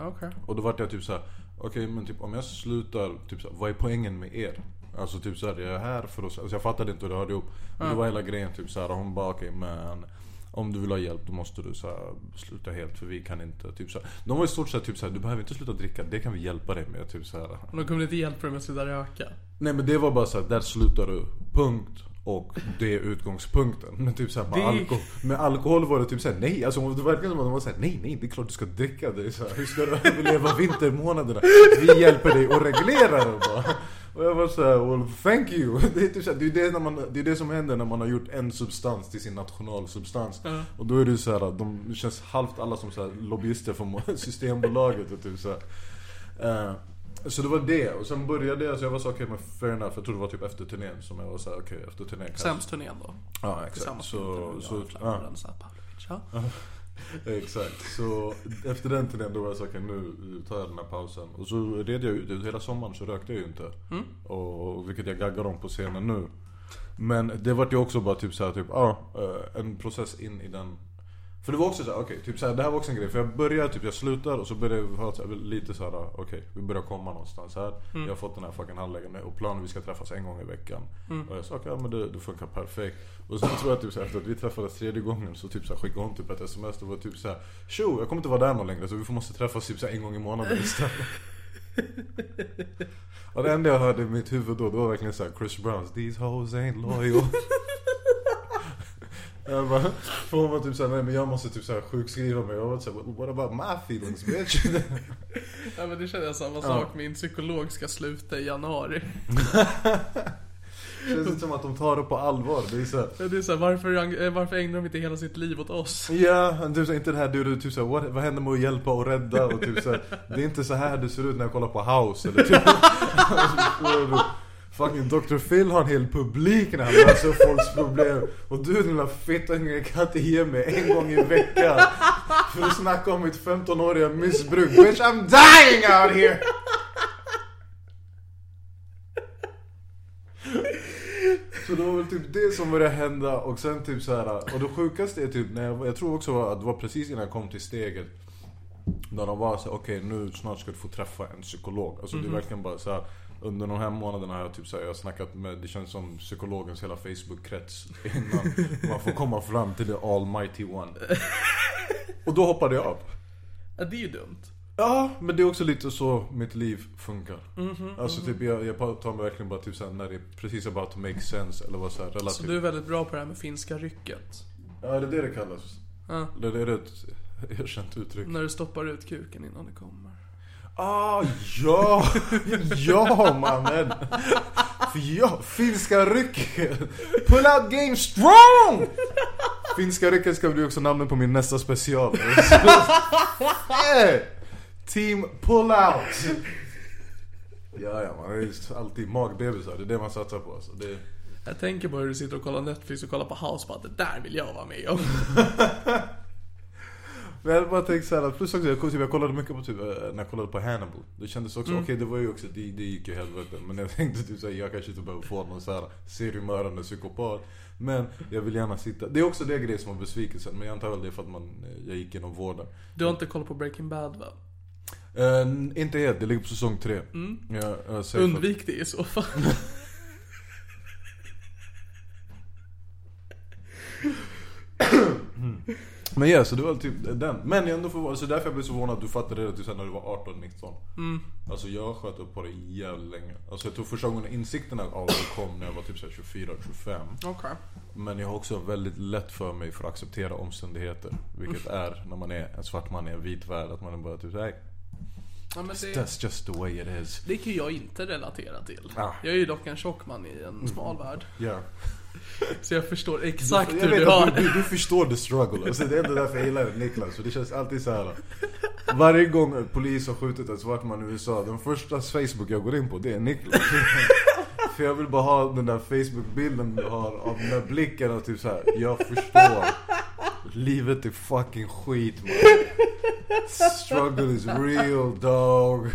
B: Okej.
C: Och då vart jag typ så här: okej men typ om jag slutar, typ så här, vad är poängen med er? Alltså typ såhär, jag är här för att, alltså jag fattade inte hur det hörde ihop. Men det var hela grejen typ såhär, hon bara okej men om du vill ha hjälp då måste du så här, sluta helt för vi kan inte. Typ så här. De var i stort sett typ såhär, du behöver inte sluta dricka, det kan vi hjälpa dig med. Typ så här.
B: Men de kommer inte hjälpa dig med att sluta röka.
C: Nej men det var bara såhär, där slutar du. Punkt. Och det är utgångspunkten. Men typ såhär med,
B: Det-
C: alkohol, med alkohol var det typ såhär nej. Alltså det verkar som att de var såhär nej nej det är klart du ska dricka. Det är så här, hur ska du överleva vintermånaderna? Vi hjälper dig att reglera det bara. Och jag var såhär well thank you. Det är, typ så här, det, är det, när man, det är det som händer när man har gjort en substans till sin nationalsubstans. Och då är det såhär, de det känns halvt alla som så här, lobbyister för Systembolaget och typ såhär. Eh, så det var det. Och sen började jag, så jag var så okej men fair enough. Jag tror det var typ efter turnén som jag var såhär, okej efter turnén kanske.
B: Sämst-turnén då.
C: Ja exakt.
B: Tillsammans
C: Så,
B: med
C: så,
B: så, jag
C: ja,
B: och Rensa Pavlovic. Ja.
C: Eh, exakt. Så efter den turnén då var jag så okej nu tar jag den här pausen. Och så red jag ut det. Hela sommaren så rökte jag ju inte. Och, vilket jag gaggar om på scenen nu. Men det vart ju också bara typ såhär, typ, ja, eh, en process in i den för det var också såhär, okej, typ såhär, det här var också en grej. För jag börjar, typ jag slutar och så börjar jag ha så här, lite såhär, okej, vi börjar komma någonstans här. Jag har fått den här fucking handläggaren och planen vi ska träffas en gång i veckan. Och jag sa, okej, ja, men det, det funkar perfekt. Och sen tror jag typ såhär, efter att vi träffades tredje gången så typ såhär skickade hon typ ett sms. Det var typ såhär, tjo, jag kommer inte vara där någon längre så vi får- måste träffas typ såhär en gång i månaden istället. och det enda jag hörde i mitt huvud då, det var verkligen såhär Chris Browns, these hoes ain't loyal. Jag bara, för hon var typ såhär, nej men jag måste typ såhär sjukskriva mig. Jag var såhär, what about my feelings bitch?
B: Ja men det känner jag samma sak. Min psykolog ska sluta i januari.
C: Känns inte som att de tar det på allvar. Det är såhär,
B: Det är så här, varför, eh, varför ägnar de inte hela sitt liv åt oss?
C: ja, du, så inte det här du, du typ såhär, what, vad händer med att hjälpa och rädda? Och typ såhär, det är inte så här det ser ut när jag kollar på House. Eller typ. Fucking Dr. Phil har en hel publik när han löser folks problem. Och du din lilla fittunge kan inte ge mig en gång i veckan. För att snacka om mitt 15-åriga missbruk. Bitch I'm dying out here! Så det var väl typ det som började hända och sen typ så här. Och det sjukaste är typ när jag, jag tror också att det var precis innan jag kom till steget. När de var så här, okej nu snart ska du få träffa en psykolog. Alltså det är verkligen bara så här. Under de här månaderna har jag typ så här, jag har snackat med, det känns som psykologens hela Facebook-krets innan man får komma fram till the almighty one. Och då hoppade jag av.
B: Ja, det är ju dumt.
C: Ja, men det är också lite så mitt liv funkar. alltså typ jag, jag tar mig verkligen bara typ såhär när det är precis about to make sense eller vad såhär relativt.
B: Så du är väldigt bra på det här med finska rycket.
C: Ja, det är det det kallas.
B: Ja.
C: Det det är ett erkänt uttryck.
B: När du stoppar ut kuken innan det kommer.
C: Ah, ja! ja, mannen! För Ja, finska rycket! Pull out game strong! Finska rycket ska bli också namnet på min nästa special. Eh, Team pull out! Ja, ja, man är just alltid magbebisar. Det är det man satsar på. Alltså. Det,
B: Jag tänker på hur du sitter och kollar Netflix och kollar på House bara, det där vill jag vara med om.
C: Men jag bara tänkte såhär, plus också jag, kom- typ, jag kollade mycket på typ, eh, när jag kollade på Hannibal. Det kändes också, okej det var ju också, det, det gick ju helvete. Men jag tänkte typ såhär, jag kanske inte behöver få någon såhär seriemördande psykopat. Men jag vill gärna sitta, det är också det grejen som var besvikelsen. Men jag antar väl det är för att man, eh, jag gick inom vården.
B: Du har inte koll på Breaking Bad va?
C: Eh, n- inte helt, det ligger på säsong tre. Mm. Jag, jag säger för-
B: Undvik det i så fall.
C: Men ja, så det var typ den. Men jag är ändå förvånad, så därför jag blev så förvånad att du fattade det typ sen när du var 18-19. Alltså jag sköt upp på det jävligt länge. Alltså jag tror första gången insikterna av det kom när jag var typ 24-25.
B: Okej.
C: Men jag har också väldigt lätt för mig för att acceptera omständigheter. Vilket är när man är en svart man i en vit värld. Att man är bara typ såhär,
B: Ja, men det,
C: that's just the way it is.
B: det kan ju jag inte relatera till.
C: Ah.
B: Jag är ju dock en tjock man i en smal värld.
C: Yeah.
B: Så jag förstår exakt
C: Jag
B: hur
C: vet
B: du har
C: att du,
B: det.
C: du, du förstår the struggle. Alltså, det är ändå därför jag gillar Niklas. För det känns alltid så här. Varje gång en polis har skjutit en svart man i USA. Den första Facebook jag går in på det är Niklas. För jag vill bara ha den där Facebook-bilden du har av den där blicken och typ så här. Jag förstår. Livet är fucking skit man. Struggle is real dog.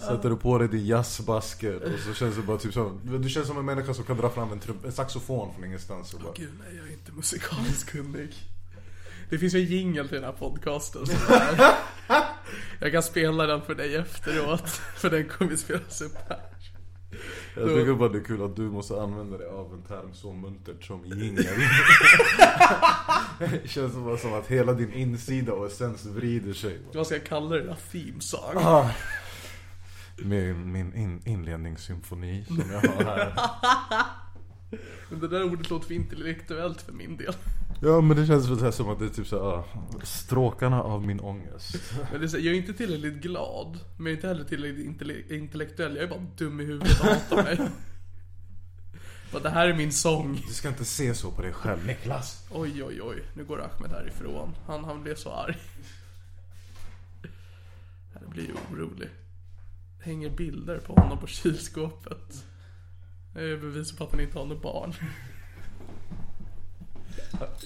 C: Sätter du på dig din jazzbasker och så känns det bara typ som Du känns som en människa som kan dra fram en, trum- en saxofon från ingenstans och bara
B: Gud nej, jag är inte musikaliskt kunnig. Det finns ju en jingel till den här podcasten. som är- Jag kan spela den för dig efteråt. För den kommer spelas upp här.
C: Jag tycker bara det är kul att du måste använda dig av en term så muntert som jingel Det känns bara som att hela din insida och essens vrider sig
B: Vad ska jag kalla det? Theme song.
C: Ah. Min, min in, inledningssymfoni som jag har här
B: Men det där ordet låter för intellektuellt för min del.
C: Ja men det känns väl så här som att det är typ såhär, ah, stråkarna av min ångest
B: Men det är så här, jag är inte tillräckligt glad, men jag är inte heller tillräckligt intelle- intellektuell. Jag är bara dum i huvudet och hatar mig. Bara, det här är min sång.
C: Du ska inte se så på dig själv Niklas
B: Oj, oj, oj. Nu går Ahmed härifrån. Han, han blev så arg. Jag blir ju orolig. Det hänger bilder på honom på kylskåpet. Det är ju bevis på att han inte har något barn.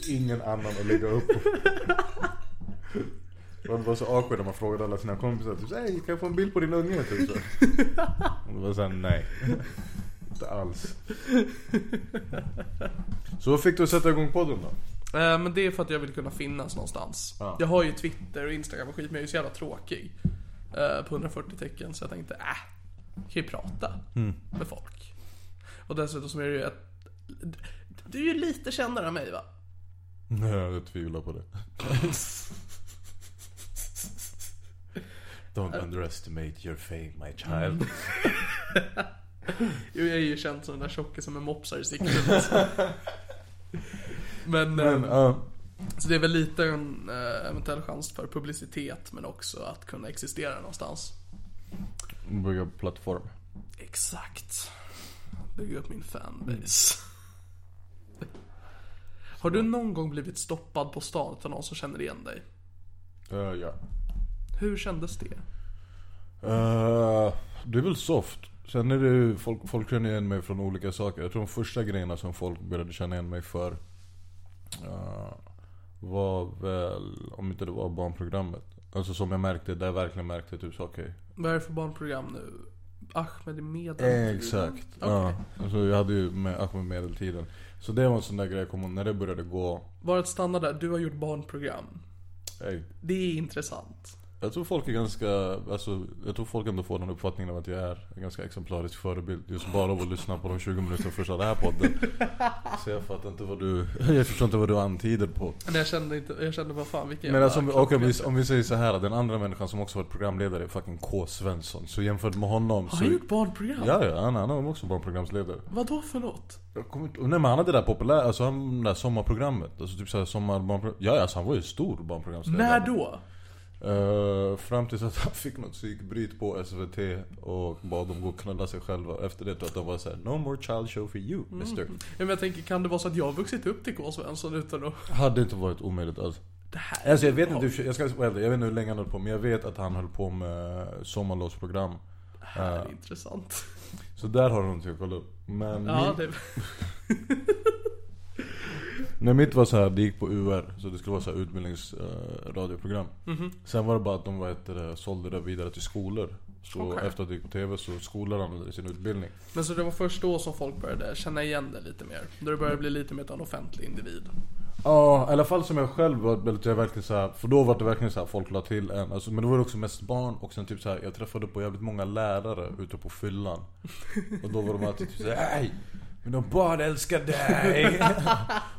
C: ingen annan att lägga upp Och Det var så awkward när man frågade alla sina kompisar typ såhär, "Hey, kan jag få en bild på din unge? Typ så. Och det var såhär, nej. Inte alls. Så vad fick du att sätta igång podden då?
B: Eh, Men det är för att jag vill kunna finnas någonstans.
C: Ja.
B: Jag har ju Twitter och Instagram och skit, men jag är ju så jävla tråkig. eh, På 140 tecken, så jag tänkte, äh, jag kan ju prata med folk. Och dessutom så är det ju ett... Du är ju lite kändare än mig va?
C: Nej, jag tvivlar på det. Don't underestimate your fame my child.
B: Jo, Jag är ju känd som den där tjocken som är mopsar i siktet. Men,
C: Men
B: eh,
C: ja,
B: så det är väl lite en eh, eventuell chans för publicitet men också att kunna existera någonstans.
C: bygga plattform.
B: Exakt. Bygga upp min fanbase. Mm. Har du någon gång blivit stoppad på stan av någon som känner igen dig?
C: Eh, ja.
B: Hur kändes det?
C: Eh, det är väl soft. Sen är det ju, folk, folk känner igen mig från olika saker. Jag tror de första grejerna som folk började känna igen mig för eh, var väl, om inte det var barnprogrammet. Alltså som jag märkte, där jag verkligen märkte typ så okej.
B: Vad är det för barnprogram nu? Ahmed i medeltiden?
C: Exakt.
B: Okej.
C: Ja. Alltså jag hade ju med, alltså med medeltiden. Så det var en sån där grej jag kom ihåg när det började gå.
B: Bara att stanna där, du har gjort barnprogram.
C: Ey,
B: Det är intressant.
C: jag tror folk är ganska, alltså, jag tror folk ändå får den uppfattningen av att jag är en ganska exemplarisk förebild. Just bara av att lyssna på de 20 minuter första den här podden. Så jag fattar inte vad du, jag förstår inte vad du antyder på.
B: Men jag kände inte, jag kände vad fan vilken
C: Men
B: jävla
C: alltså om,
B: klock-
C: okej, om, vi, om vi säger så här den andra människan som också varit programledare är fucking K. Svensson. Så jämfört med honom
B: Har
C: så...
B: han gjort barnprogram?
C: Ja, ja, han, han var också barnprogramsledare.
B: Vad då för något?
C: Jag kommer inte... Nej men han hade det där populära, alltså han det där sommarprogrammet. Alltså typ såhär sommarbarnprogram. Ja, ja, alltså han var ju stor barnprogramsledare.
B: När då?
C: Eh, fram tills att han fick något psykbryt på SVT och bad dem gå och knulla sig själva. Efter det tror jag att de var såhär No more child show for you,
B: Mm.
C: mister.
B: Ja, Men jag tänker, kan det vara så att jag har vuxit upp till K. Svensson utan att...
C: Hade inte varit omöjligt alls.
B: Det här
C: Alltså jag vet inte, hur- jag ska vara ärlig, jag vet inte hur länge han höll på. Men jag vet att han höll på med sommarlovsprogram.
B: är intressant.
C: Så där har du någonting att kolla upp. Men
B: Ja,
C: min,
B: det...
C: när mitt var så här, det gick på UR. Så det skulle vara så här utbildningsradioprogram.
B: Mhm.
C: Sen var det bara att de vad heter det, sålde det vidare till skolor. Så
B: Okej.
C: efter att det gick på TV så skolor använde det i sin utbildning.
B: Men så det var först då som folk började känna igen det lite mer. Då det började bli lite mer av en offentlig individ.
C: Ja, i alla fall som jag själv var väldigt, jag verkligen så här, för då var det verkligen så här, folk la till en. Alltså, men då var det också mest barn och sen typ så här, jag träffade på jävligt många lärare ute på fyllan. Och då var de alltid typ såhär, hej! Mina barn älskar dig!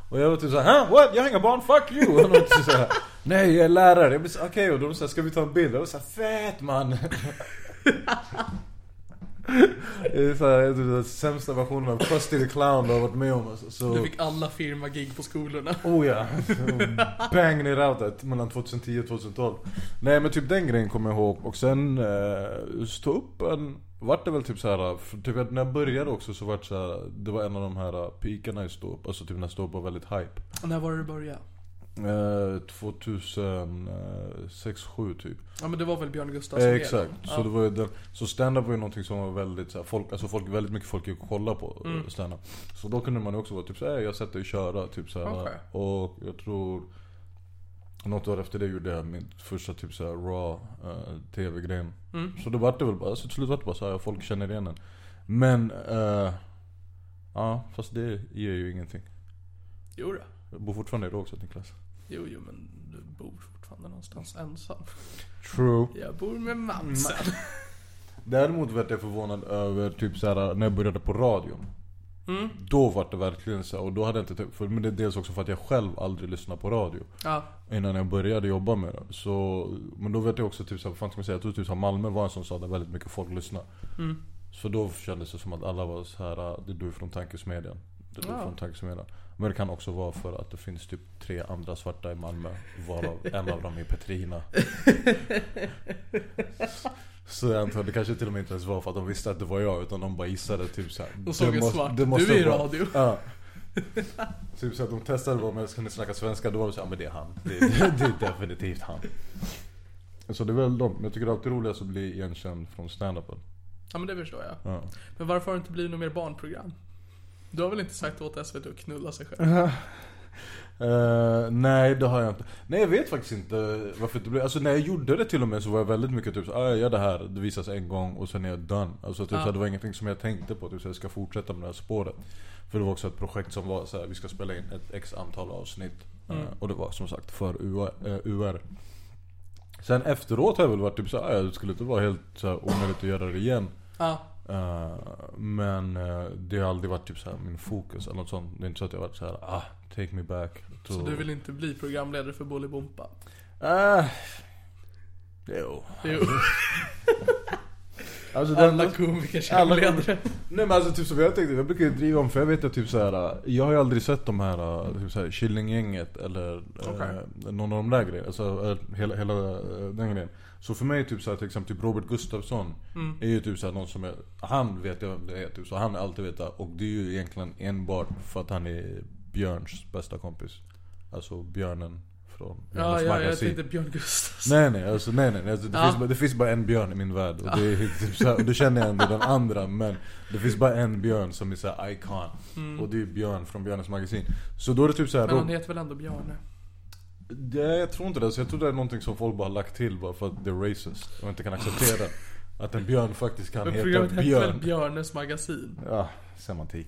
C: och jag var typ såhär, huh? What? Jag har inga barn, fuck you! Och de var typ så här, nej jag är lärare. Jag blev så, Okej, och då var de såhär, ska vi ta en bild? Jag var såhär, fett man! Det är såhär, den sämsta versionen av Krusty the Clown du har varit med om. Alltså. Så...
B: Du fick alla firmagig på skolorna.
C: Oh ja. Bang ner out that mellan 2010 och 2012. Nej men typ den grejen kommer jag ihåg. Och sen eh, stå upp en... Vart det väl typ så här, för typ att när jag började också så vart det så här, det var en av de här pikarna i ståupp, alltså typ när ståupp var väldigt hype.
B: När var det du började?
C: Eh, 2006, 7 typ.
B: Ja men det var väl Björn Gustafsson
C: Eh,
B: igen.
C: exakt. Så,
B: Ja.
C: det var ju den, så stand-up var ju någonting som var väldigt så här, folk, alltså folk, väldigt mycket folk gick och kollade på mm. stand-up. Så då kunde man ju också vara typ såhär, jag har sett dig köra. Typ så här,
B: Okej.
C: Och jag tror, något år efter det gjorde jag min första typ såhär raw eh, tv-gren.
B: Mm.
C: Så då var det väl bara, alltså, till slut var det bara såhär, folk känner igen en. Men, eh, ja fast det ger ju ingenting.
B: Jo, då.
C: Jag bor fortfarande i Rågsved Niklas.
B: jo, jo men du bor fortfarande någonstans ensam.
C: True.
B: Jag bor med mamsen.
C: Däremot vart jag förvånad över typ så här när jag började på radion. Då var det verkligen så här, och då hade jag inte typ, för, men det är dels också för att jag själv aldrig lyssnade på radio.
B: Ja.
C: Innan jag började jobba med det. Så, men då vet jag också typ så här, vad fan ska man säga? Jag tror typ så här, Malmö var en sån stad där väldigt mycket folk lyssnade. Så då kändes det som att alla var så här, "Ah, det är du från tankesmedjan. Det är du
B: Ja.
C: från tankesmedjan. Men det kan också vara för att det finns typ tre andra svarta i Malmö. Varav en av dem är Petrina. Så jag antar att det kanske till och med inte ens var för att de visste att det var jag utan de bara gissade typ såhär.
B: De såg
C: "Det
B: en
C: måste-
B: svart.
C: det måste
B: Du är i
C: vara-"
B: radio.
C: Ja. Typ såhär, de testade bara om jag kunde snacka svenska. Då var de såhär, "Ja, men det är han. Det är, det är definitivt han. Så det är väl de. Men jag tycker det är alltid roligast att bli igenkänd från standupen.
B: Ja men det förstår jag.
C: Ja.
B: Men varför har det inte blivit något mer barnprogram? Du har väl inte sagt åt SVT att knulla sig själv?
C: Eh, nej det har jag inte. Nej jag vet faktiskt inte varför det blev. Alltså när jag gjorde det till och med så var jag väldigt mycket typ så, ah, jag gör det här, det visas en gång och sen är jag done. Alltså typ så här, det var ingenting som jag tänkte på, typ så här, jag ska fortsätta med det här spåret. För det var också ett projekt som var så här, vi ska spela in ett x antal avsnitt. Eh, och det var som sagt för UR. eh, UR. Sen efteråt har jag väl varit typ så här, ah, ja, det skulle inte vara helt så här, onödigt att göra det igen.
B: Ja.
C: Eh, men eh, det har aldrig varit typ så här min fokus eller något sånt. Det är inte så att jag har varit så här, ah, take me back.
B: Så du vill inte bli programledare för Bolibompa?
C: Ah. Eh, Jo.
B: Jo.
C: Alltså, den-
B: Alla komiker
C: alla
B: känner
C: komiker- Nej men alltså typ som jag tänkte, jag brukar ju driva om för jag vet att typ så här. Jag har ju aldrig sett de här, äh, typ så här Killinggänget eller eh,
B: Okej.
C: någon av de där grejerna. Alltså eh, hela, hela eh, den grejen. Så för mig typ så här, till exempel typ Robert Gustafsson
B: Mm.
C: är ju typ så här, någon som är, han vet jag vem det är typ så han är alltid veta. Och det är ju egentligen enbart för att han är Björns bästa kompis. Alltså björnen från
B: Ja,
C: Björnens
B: ja, jag
C: magasin.
B: tänkte Björn Gustafsson.
C: Nej nej, alltså, nej, nej. Alltså, det,
B: Ja.
C: finns bara, det finns bara en björn i min värld. Och det är typ så här, och då känner jag ändå den andra men det finns bara en björn som är så här icon. Och det är Björn från Björnens magasin. Så då är det typ så här,
B: Mm. Men han
C: då,
B: heter väl ändå Bjarne?
C: det, jag tror inte det. Så jag tror det är någonting som folk bara har lagt till bara för att det är racist. Och inte kan acceptera att en björn faktiskt kan
B: Men
C: heta
B: programmet
C: Björn.
B: hette väl Björnes magasin?
C: Ja, semantik.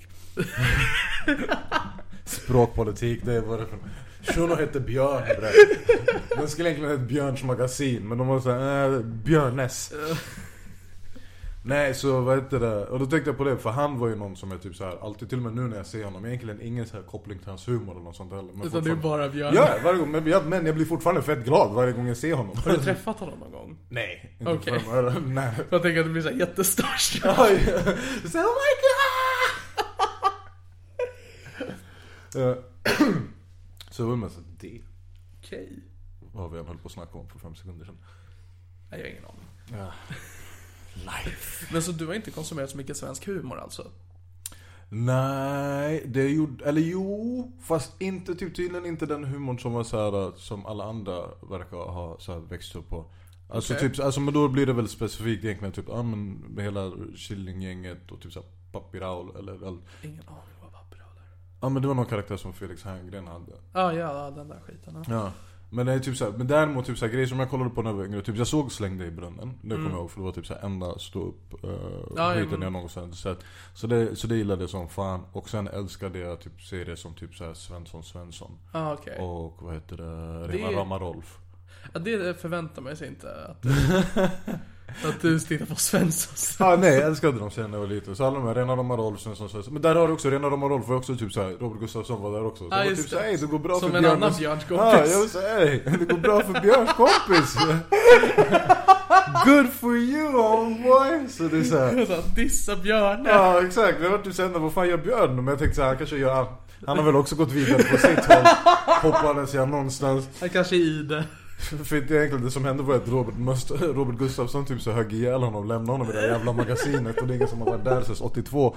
C: Språkpolitik, det är vad det är för... Shuno hette Björn bre. Den skulle egentligen heta Björns magasin men de var såhär, eh, Björnes. Nej så vad heter det, och då tänkte jag på det för han var ju någon som är typ så här alltid till och med nu när jag ser honom, egentligen ingen så här koppling till hans humor eller något sånt heller. Men
B: Utan det är
C: fortfarande-
B: bara Björn.
C: Ja, varje gång, men, jag, men jag blir fortfarande fett glad varje gång jag ser honom.
B: Har du träffat honom någon gång?
C: Nej. inte
B: Okej.
C: för- Nej.
B: Jag tänker att du blir såhär jättestark.
C: Oj! Så, oh my god! Eh, Så var det mest att det
B: Okej.
C: var vi än höll på att snacka om för fem sekunder sedan.
B: Nej, jag har ingen aning.
C: Life.
B: Men så du har inte konsumerat så mycket svensk humor alltså?
C: Nej, det gjorde, eller jo, fast inte typ tydligen inte den humorn som var så här som alla andra verkar ha så här växt upp på. Alltså
B: Okej.
C: typ, alltså men då blir det väl specifikt egentligen typ, ja men hela Killinggänget och typ så här Papi Raul eller, eller
B: Ingen aning vad papper håller.
C: Ja men det var någon karaktär som Felix Herngren hade.
B: Ah, ja, den där skiten. Ja.
C: Ja. Men det är typ så här, men däremot typ så här, grejer som jag kollade på när jag var yngre, typ jag såg Släng dig i brunnen. Det kommer jag ihåg för det var typ så här enda stå upp uh,
B: Mm. ja,
C: skiten
B: men-
C: jag någonsin sett. Så det, så det gillade jag som fan. Och sen älskade jag typ serier som typ så här Svensson Svensson.
B: Ah, okej.
C: Och vad heter det?
B: Det är-
C: Rena rama Rolf.
B: Ja, det förväntar man sig inte att du, att du tittar på Svenssons.
C: Ja ah, nej jag älskade dem sen när jag var liten. Så alla de här Rena rama Rolf, Svensson Svensson. Men där har du också Rena rama Rolf var också typ så här Robert Gustafsson var där också. Så
B: Ja,
C: det var
B: just
C: typ så
B: det.
C: här, "Ey, det går bra
B: Som
C: för
B: en
C: Björn."
B: annan Björns kompis.
C: Ja, jag vill säga "Ey, det går bra för Björns kompis. Good for you homeboy. Så det är såhär.
B: Så att dissa Björne.
C: Ja exakt, det var typ såhär, vad fan gör Björn? Men jag tänkte såhär, han kanske gör, han har väl också gått vidare på sitt håll. Hoppades jag någonstans.
B: Han kanske är i det.
C: För det, är egentligen, det som hände var att Robert, Must- Robert Gustafsson typ så högg ihjäl honom, lämnade honom i det där jävla magasinet och det är ingen som har varit där sedan 82.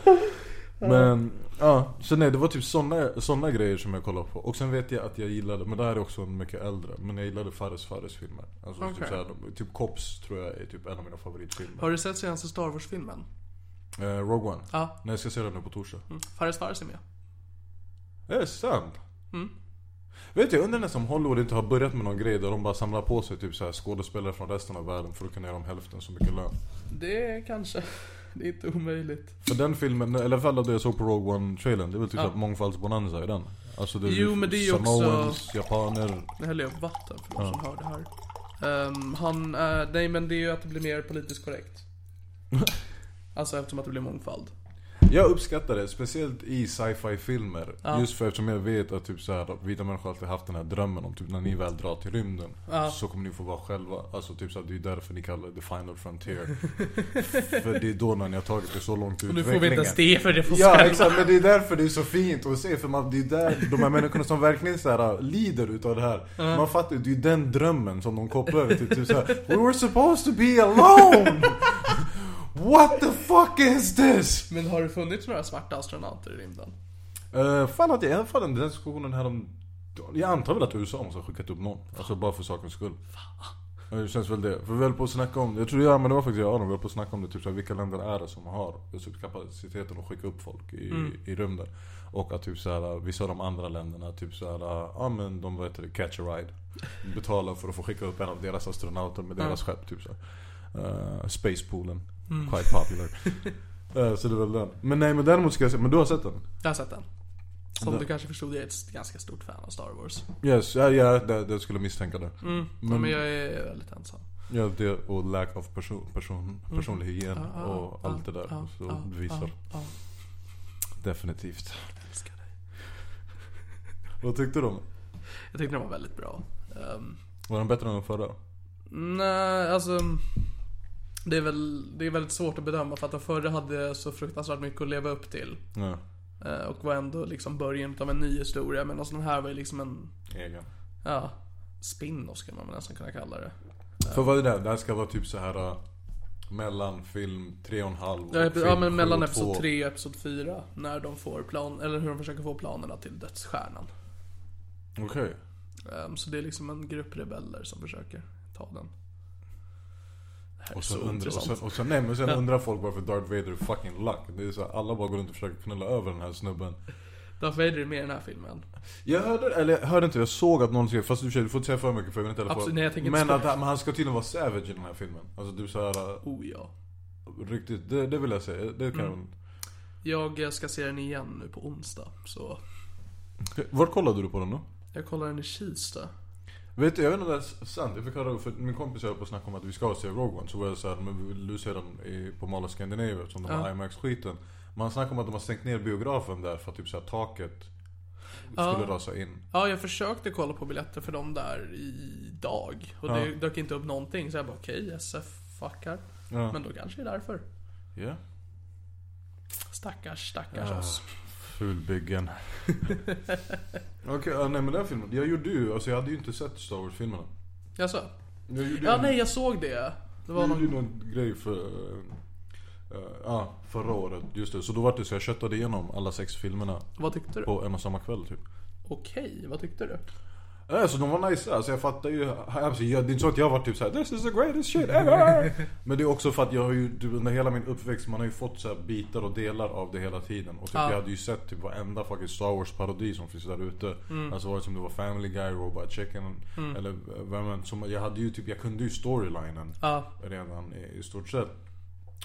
C: Men ja, så nej det var typ såna, såna grejer som jag kollade på. Och sen vet jag att jag gillade, men det här är också en mycket äldre, men jag gillade Fares Fares filmer. Alltså
B: Okej.
C: typ, så här, de- typ Cops tror jag är typ en av mina favoritfilmer.
B: Har du sett senaste Star Wars-filmen?
C: Eh, Rogue One.
B: Ja.
C: Nej jag ska se den nu på torsdag.
B: Mm. Fares Fares är med.
C: Det är sant.
B: Mm.
C: Vet du, jag undrar nästan om Hollywood inte har börjat med någon grej där de bara samlar på sig typ så här skådespelare från resten av världen för att kunna ge dem hälften så mycket lön.
B: Det är kanske. Det är inte omöjligt.
C: För den filmen, eller i alla fall det jag såg på Rogue One-trailern, det är väl typ
B: Ja.
C: ja. mångfaldsbonanza i den. Alltså det
B: Jo, men det är ju också-
C: Samoans, japaner.
B: Nu häller jag upp vatten för de som hör det här. Ehm, han, eh, nej men det är ju att det blir mer politiskt korrekt. alltså eftersom att det blir mångfald.
C: Jag uppskattar det, speciellt i sci-fi filmer. Just för eftersom jag vet att typ så här, att vita människor alltid haft den här drömmen om typ när ni väl drar till rymden så kommer ni få vara själva. Alltså typ så här, det är därför ni kallar det the final frontier. för det är då när ni har tagit det så långt i
B: Och nu får
C: utvecklingen.
B: vi inte ens det för det får
C: Ja
B: själva.
C: exakt, men det är därför det är så fint att se för man, det är där de här människorna som verkligen så här, äh, lider utav det här Man fattar ju, det är ju den drömmen som de kopplar över till typ så här, We were supposed to be alone! What the fuck is this?
B: Men har det funnits några svarta astronauter i rymden?
C: Uh, fan att jag i alla fall den där diskussionen här om Jag antar väl att USA måste ha skickat upp någon, alltså bara för sakens skull Ja, det känns väl det. För vi höll på att snacka om det. Jag tror jag, men det var faktiskt jag och Aron, vi höll på att snacka om det. Typ såhär, vilka länder är det som har typ, kapaciteten att skicka upp folk i, i rymden? Och att typ såhär, vissa av de andra länderna, typ såhär, ja men de vet det, catch a ride. Betalar för att få skicka upp en av deras astronauter med deras skepp typ såhär. Uh, Spacepoolen. Quite popular. Eh, så det var väl den. Men nej men däremot ska jag säga, men du har sett den?
B: Jag har sett den. Som du kanske förstod, jag är ett ganska stort fan av Star Wars.
C: Yes, ja, ja det, det skulle jag misstänka det.
B: Men, men jag är väldigt ensam.
C: Ja, det och lack of person,
B: Mm.
C: person, personlig hygien och allt det där. så visar.
B: ja.
C: Definitivt.
B: Älskar dig.
C: Vad tyckte du om
B: Jag tyckte den var väldigt bra. Ehm,
C: Var den bättre än den förra?
B: nej, alltså... Det är, väl, det är väldigt svårt att bedöma för att de förra hade så fruktansvärt mycket att leva upp till.
C: Ja.
B: Eh, Och var ändå liksom början av en ny historia. Medan den här var ju liksom en,
C: Egen.
B: ja, spin-off skulle man väl nästan kunna kalla det.
C: För vad är det? där? Det här ska vara typ så här äh, mellan film 3,5 och, och
B: Ja, epi-
C: film
B: ja men
C: sju
B: mellan
C: och
B: episod
C: två.
B: 3 och episod 4. När de får plan, eller hur de försöker få planerna till dödsstjärnan.
C: Okej.
B: Ehm, Så det är liksom en grupp rebeller som försöker ta den. Det här är
C: Och
B: så
C: sen, undrar, och,
B: intressant.
C: sen, och sen, nej, men sen undrar folk varför Darth Vader är fucking lack. Det är så här, alla bara går runt och försöker knulla över den här snubben.
B: Darth Vader är med i den här filmen.
C: Jag hörde, eller jag hörde inte, jag såg att någon skrev, fast du, du får inte säga för mycket för jag vill inte heller
B: Absolut,
C: få-
B: nej, jag tänker inte
C: Men
B: säga.
C: att han- men han ska tydligen vara savage i den här filmen. Alltså du såhär,
B: Oh ja.
C: riktigt, det, det vill jag säga. Det kan
B: Mm. Jag eh, ska se den igen nu på onsdag. Så
C: Var kollade du på den då?
B: jag kollar den i Kista.
C: Vet du, jag vet inte om det är sant. Jag fick höra, för min kompis höll på att snacka om att vi ska se Rogue One. Så var jag såhär, men vi vill du se den i, på Mall of Scandinavia eftersom de har
B: Ja.
C: IMAX-skiten. Man snackar om att de har stängt ner biografen där för att typ såhär taket skulle rasa in.
B: Ja, jag försökte kolla på biljetter för dem där idag. Och det dök inte upp någonting. Så jag bara okej, SF fuckar.
C: Ja.
B: Men då kanske det är därför.
C: Ja.
B: Stackars, stackars oss.
C: Fulbyggen. Okej, ja, nej men den filmen. Jag gjorde ju, alltså jag hade ju inte sett Star Wars-filmerna.
B: Jag sa.
C: Jag gjorde
B: Ja,
C: en,
B: nej, jag såg det. Det var
C: jag gjorde
B: någon...
C: ju någon grej för... eh, eh, Ja, förra året. Just det. Så då var det så jag köttade igenom alla sex filmerna
B: Vad tyckte du?
C: på en och samma kväll typ.
B: Okej, vad tyckte du?
C: Ja, Alltså de var nice, alltså jag fattar ju. Alltså, jag, det är inte så att jag var typ såhär 'This is the greatest shit ever' Men det är också för att jag har ju typ, under hela min uppväxt, man har ju fått så här bitar och delar av det hela tiden. Och typ, jag hade ju sett typ varenda fucking Star Wars parodi som finns där ute.
B: Mm.
C: Alltså vare sig det var Family Guy, Robot Chicken eller eh, vem än. Som, jag hade ju typ, jag kunde ju storylinen
B: Ja.
C: redan i, i stort sett.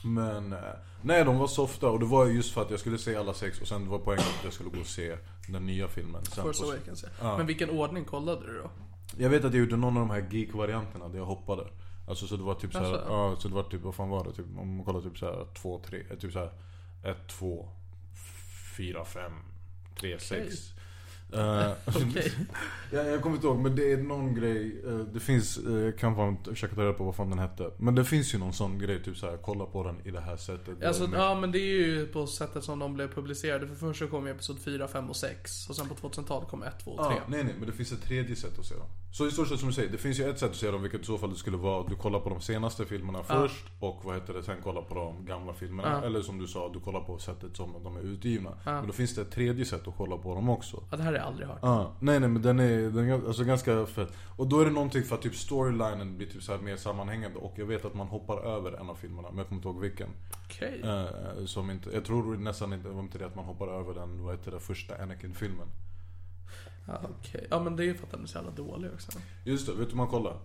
C: Men eh, nej, de var softa och det var ju just för att jag skulle se alla sex och sen var poängen att jag skulle gå och se den nya filmen. Sen
B: Force
C: på-
B: Awakens ja. Men vilken ordning kollade du då?
C: jag vet att jag gjorde någon av de här geek-varianterna där jag hoppade. Alltså så det var typ så här,
B: Alltså?
C: ja, så det var typ, vad fan var det? Typ, om man kollar typ så här 2, 3, eh, typ så här 1, 2, 4, 5, 3, 6.
B: Okej.
C: Eh, Jag, jag kommer inte ihåg men det är någon grej, eh, det finns, eh, jag kan fan inte försöka ta reda på vad fan den hette. Men det finns ju någon sån grej, typ så här, kolla på den i det här sättet.
B: Alltså,
C: Men-
B: ja men det är ju på sättet som de blev publicerade. För först så kom ju episod 4, 5 och 6. Och sen på 2000-talet kom 1, 2 och 3.
C: Ja, nej, nej, men det finns ett tredje sätt att se dem. Så i stort sett som du säger, det finns ju ett sätt att se dem, vilket i så fall det skulle vara att du kollar på de senaste filmerna först och vad heter det, sen kollar på de gamla filmerna. Eller som du sa, du kollar på sättet som de är utgivna. Men då finns det ett tredje sätt att kolla på dem också.
B: Ja, det här har jag aldrig hört.
C: Ja, nej nej men den är, den är alltså ganska fett. Och då är det någonting för att typ storylinen blir typ så här mer sammanhängande och jag vet att man hoppar över en av filmerna, men jag kommer inte ihåg vilken.
B: Okej.
C: Eh, som inte, jag tror nästan inte, det var inte det att man hoppar över den, vad heter det, första Anakin-filmen.
B: Ja, okej. Ja men det är ju för att den är så jävla dålig också.
C: Just det, vet du hur man kollar?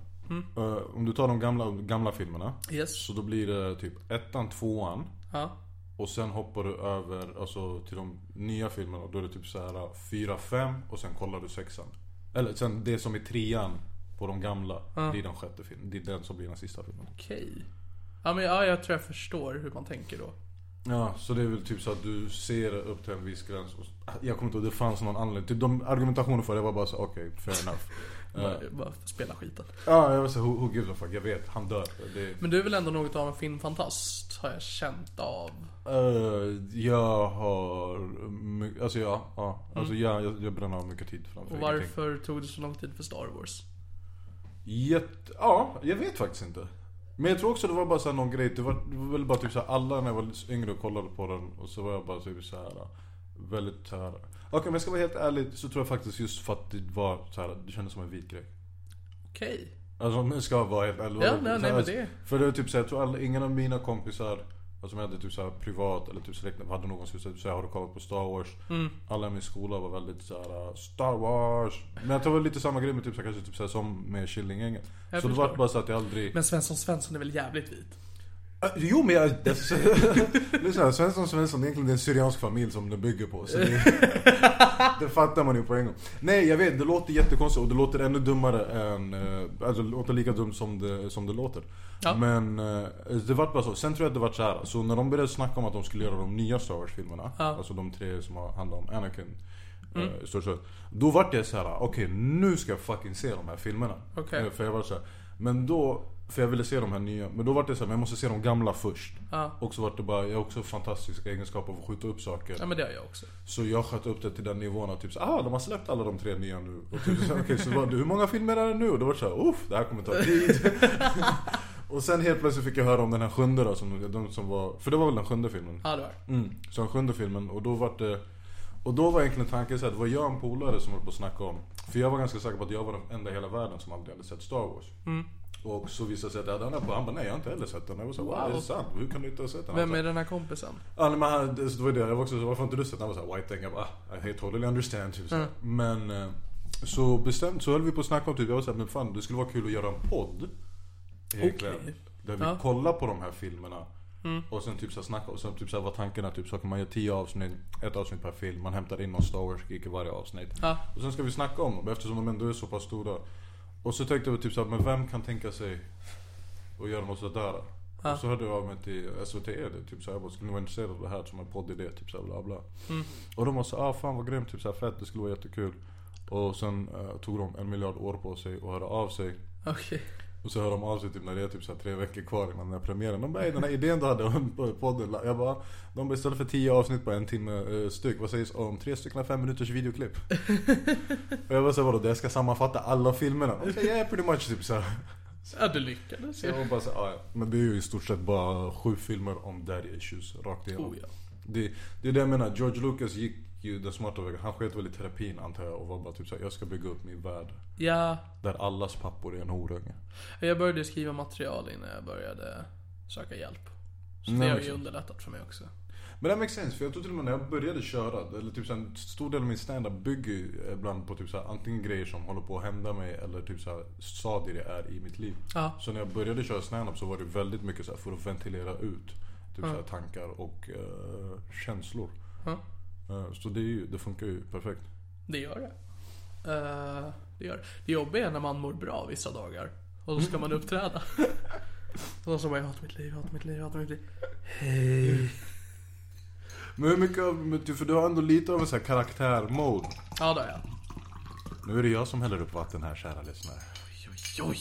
C: Eh, om du tar de gamla, gamla filmerna
B: Yes.
C: så då blir det typ ettan, tvåan
B: Ja.
C: och sen hoppar du över alltså, till de nya filmerna och då är det typ så här fyra, fem och sen kollar du sexan. Eller sen det som är trean på de gamla, det är den sjätte filmen. Det är den som blir den sista filmen.
B: Okej. Ja men ja, jag tror jag förstår hur man tänker då.
C: Ja, så det är väl typ så att du ser upp till en viss gräns och, ah, Jag kommer inte ihåg, det fanns någon anledning. Typ de argumentationer för det var bara så okej, fair enough. Eh,
B: Bara- Bara spela skiten.
C: Ja, jag var så här, who, who gives a fuck? Jag vet, han dör. Det,
B: Men du är väl ändå något av en filmfantast? Har jag känt av.
C: Eh, jag har... my- Alltså ja, ja. Alltså jag, jag, jag bränner av mycket tid framför
B: Och
C: ingenting.
B: varför tog det så lång tid för Star Wars?
C: Jätte, ja, jag vet faktiskt inte. Men jag tror också det var bara så här någon grej. Det var, det var väl bara typ så här, alla när jag var yngre och kollade på den och så var jag bara typ så här väldigt så här. Okej men jag ska vara helt ärlig så tror jag faktiskt just för att det var så här, det kändes som en vit grej.
B: Okej.
C: Alltså om jag ska vara helt ärlig.
B: Ja, nej, nej, men det-
C: För det var typ såhär, jag tror alla, ingen av mina kompisar alltså, som jag hade typ såhär privat eller typ släkt, hade någon som skulle säga har du kollat på Star Wars?
B: Mm.
C: Alla i min skola var väldigt såhär, Star Wars! Men jag tror det var lite samma grej med typ såhär, kanske typ såhär som med Killinggänget.
B: Jag
C: Så det
B: förstår.
C: var bara så att jag aldrig...
B: Men Svensson Svensson är väl jävligt vit?
C: Äh, Jo men jag... Lyssna, Svensson Svensson, det är egentligen det är en syriansk familj som det bygger på. Så det, det fattar man ju på en gång. Nej jag vet, det låter jättekonstigt och det låter ännu dummare än... eh, Alltså det låter lika dumt som det, som det låter.
B: Ja.
C: Men eh, det vart bara så. Sen tror jag att det vart så här. så när de började snacka om att de skulle göra de nya Star Wars-filmerna, alltså de tre som har- handlar om Anakin. eh,
B: Mm.
C: i stort sett. Då vart jag så här: okej nu ska jag fucking se de här filmerna.
B: Okej.
C: Eh, För jag var så här, Men då, för jag ville se de här nya. Men då var det så här, men jag måste se de gamla först.
B: Ja.
C: Och så var det bara, jag har också fantastiska egenskaper av att skjuta upp saker.
B: Ja men det har jag också.
C: Så jag sköt upp det till den nivån att typ så, ah de har släppt alla de tre nya nu. Och typ så, okay, så var det, hur många filmer är det nu? Och då var det såhär, uff det här kommer ta tid. och sen helt plötsligt fick jag höra om den här sjunde då, som, de som var, för det var väl den sjunde filmen?
B: Ja det var det.
C: Mm, så den sjunde filmen och då var det och då var egentligen tanken så här, det var jag och en polare som höll på att snacka om För jag var ganska säker på att jag var den enda i hela världen som aldrig hade sett Star Wars
B: Mm.
C: Och så visade det sig att jag hade andra på, han bara nej jag har inte heller sett den Jag var så här, wow,
B: Wow.
C: det är sant, hur kan du inte ha sett den? Han
B: Vem
C: bara,
B: är den här kompisen?
C: Ja nej, men han, det det var det, jag var också så varför har inte du sett den? Han var såhär white thing, jag bara ah, I totally understand typ såhär.
B: Mm.
C: Men eh, så bestämt, så höll vi på att snacka om typ, jag var såhär men fan det skulle vara kul att göra en podd Egentligen
B: Okej.
C: Där vi
B: Ja. Mm.
C: kollar på de här filmerna Och sen typ såhär snacka, och sen typ såhär var tanken att typ så kan man göra 10 avsnitt, ett avsnitt per film Man hämtar in någon Star Wars geek i varje avsnitt
B: Ja.
C: Och sen ska vi snacka om dem eftersom de ändå är så pass stora Och så tänkte vi typ såhär, men vem kan tänka sig och göra något sådär.
B: Ja.
C: Och så hörde jag av mig till SVT det, typ såhär, jag bara, skulle ni vara intresserade av det här som en poddidé? Typ såhär bla bla. Och de var så ah fan vad grymt, typ såhär fett, det skulle vara jättekul. Och sen eh, tog de en miljard år på sig och hörde av sig.
B: Okej.
C: Och så hör de av sig typ när det är typ så här tre veckor kvar innan den här premiären. De bara "Hej, den här idén du hade om podden. Jag bara, de bara istället för tio avsnitt på en timme eh, styck. Vad sägs om tre stycken fem minuters videoklipp? och jag bara såhär vadå, det ska sammanfatta alla filmerna? Och så, yeah pretty much typ såhär.
B: Ja du lyckades
C: Så jag
B: ju.
C: var bara så, ja, ja. Men det är ju i stort sett bara sju filmer om daddy issues rakt igenom.
B: Oh, ja.
C: det, det är det jag menar, George Lucas gick ju den smarta vägen. Han sket väl i terapin antar jag och var bara typ såhär, jag ska bygga upp min värld.
B: Ja,
C: Där allas pappor är en horunge.
B: jag började skriva material innan jag började söka hjälp. Så
C: Nej,
B: det
C: men
B: har ju
C: så-
B: underlättat för mig också.
C: Men det makes sense, för jag tror till och med när jag började köra, eller typ så här, en stor del av min standup bygger ju ibland på typ så här, antingen grejer som håller på att hända mig eller typ så här, stadier jag är i mitt liv.
B: Ja.
C: Så när jag började köra standup så var det väldigt mycket så här, för att ventilera ut typ så här, tankar och eh, känslor.
B: Ja.
C: Eh, så det, är ju, det funkar ju perfekt.
B: Det gör det. Eh, det gör det. Det jobbiga är när man mår bra vissa dagar. Och då
C: Mm.
B: ska man uppträda. Och då så bara, jag hatar mitt liv, jag hatar mitt liv, jag hatar mitt liv. Hej.
C: Men hur mycket, av- men du- för du har ändå lite av en sån här karaktär-mode.
B: Ja, där ja.
C: Nu är det jag som häller upp vatten här kära lyssnare.
B: Oj, oj, oj.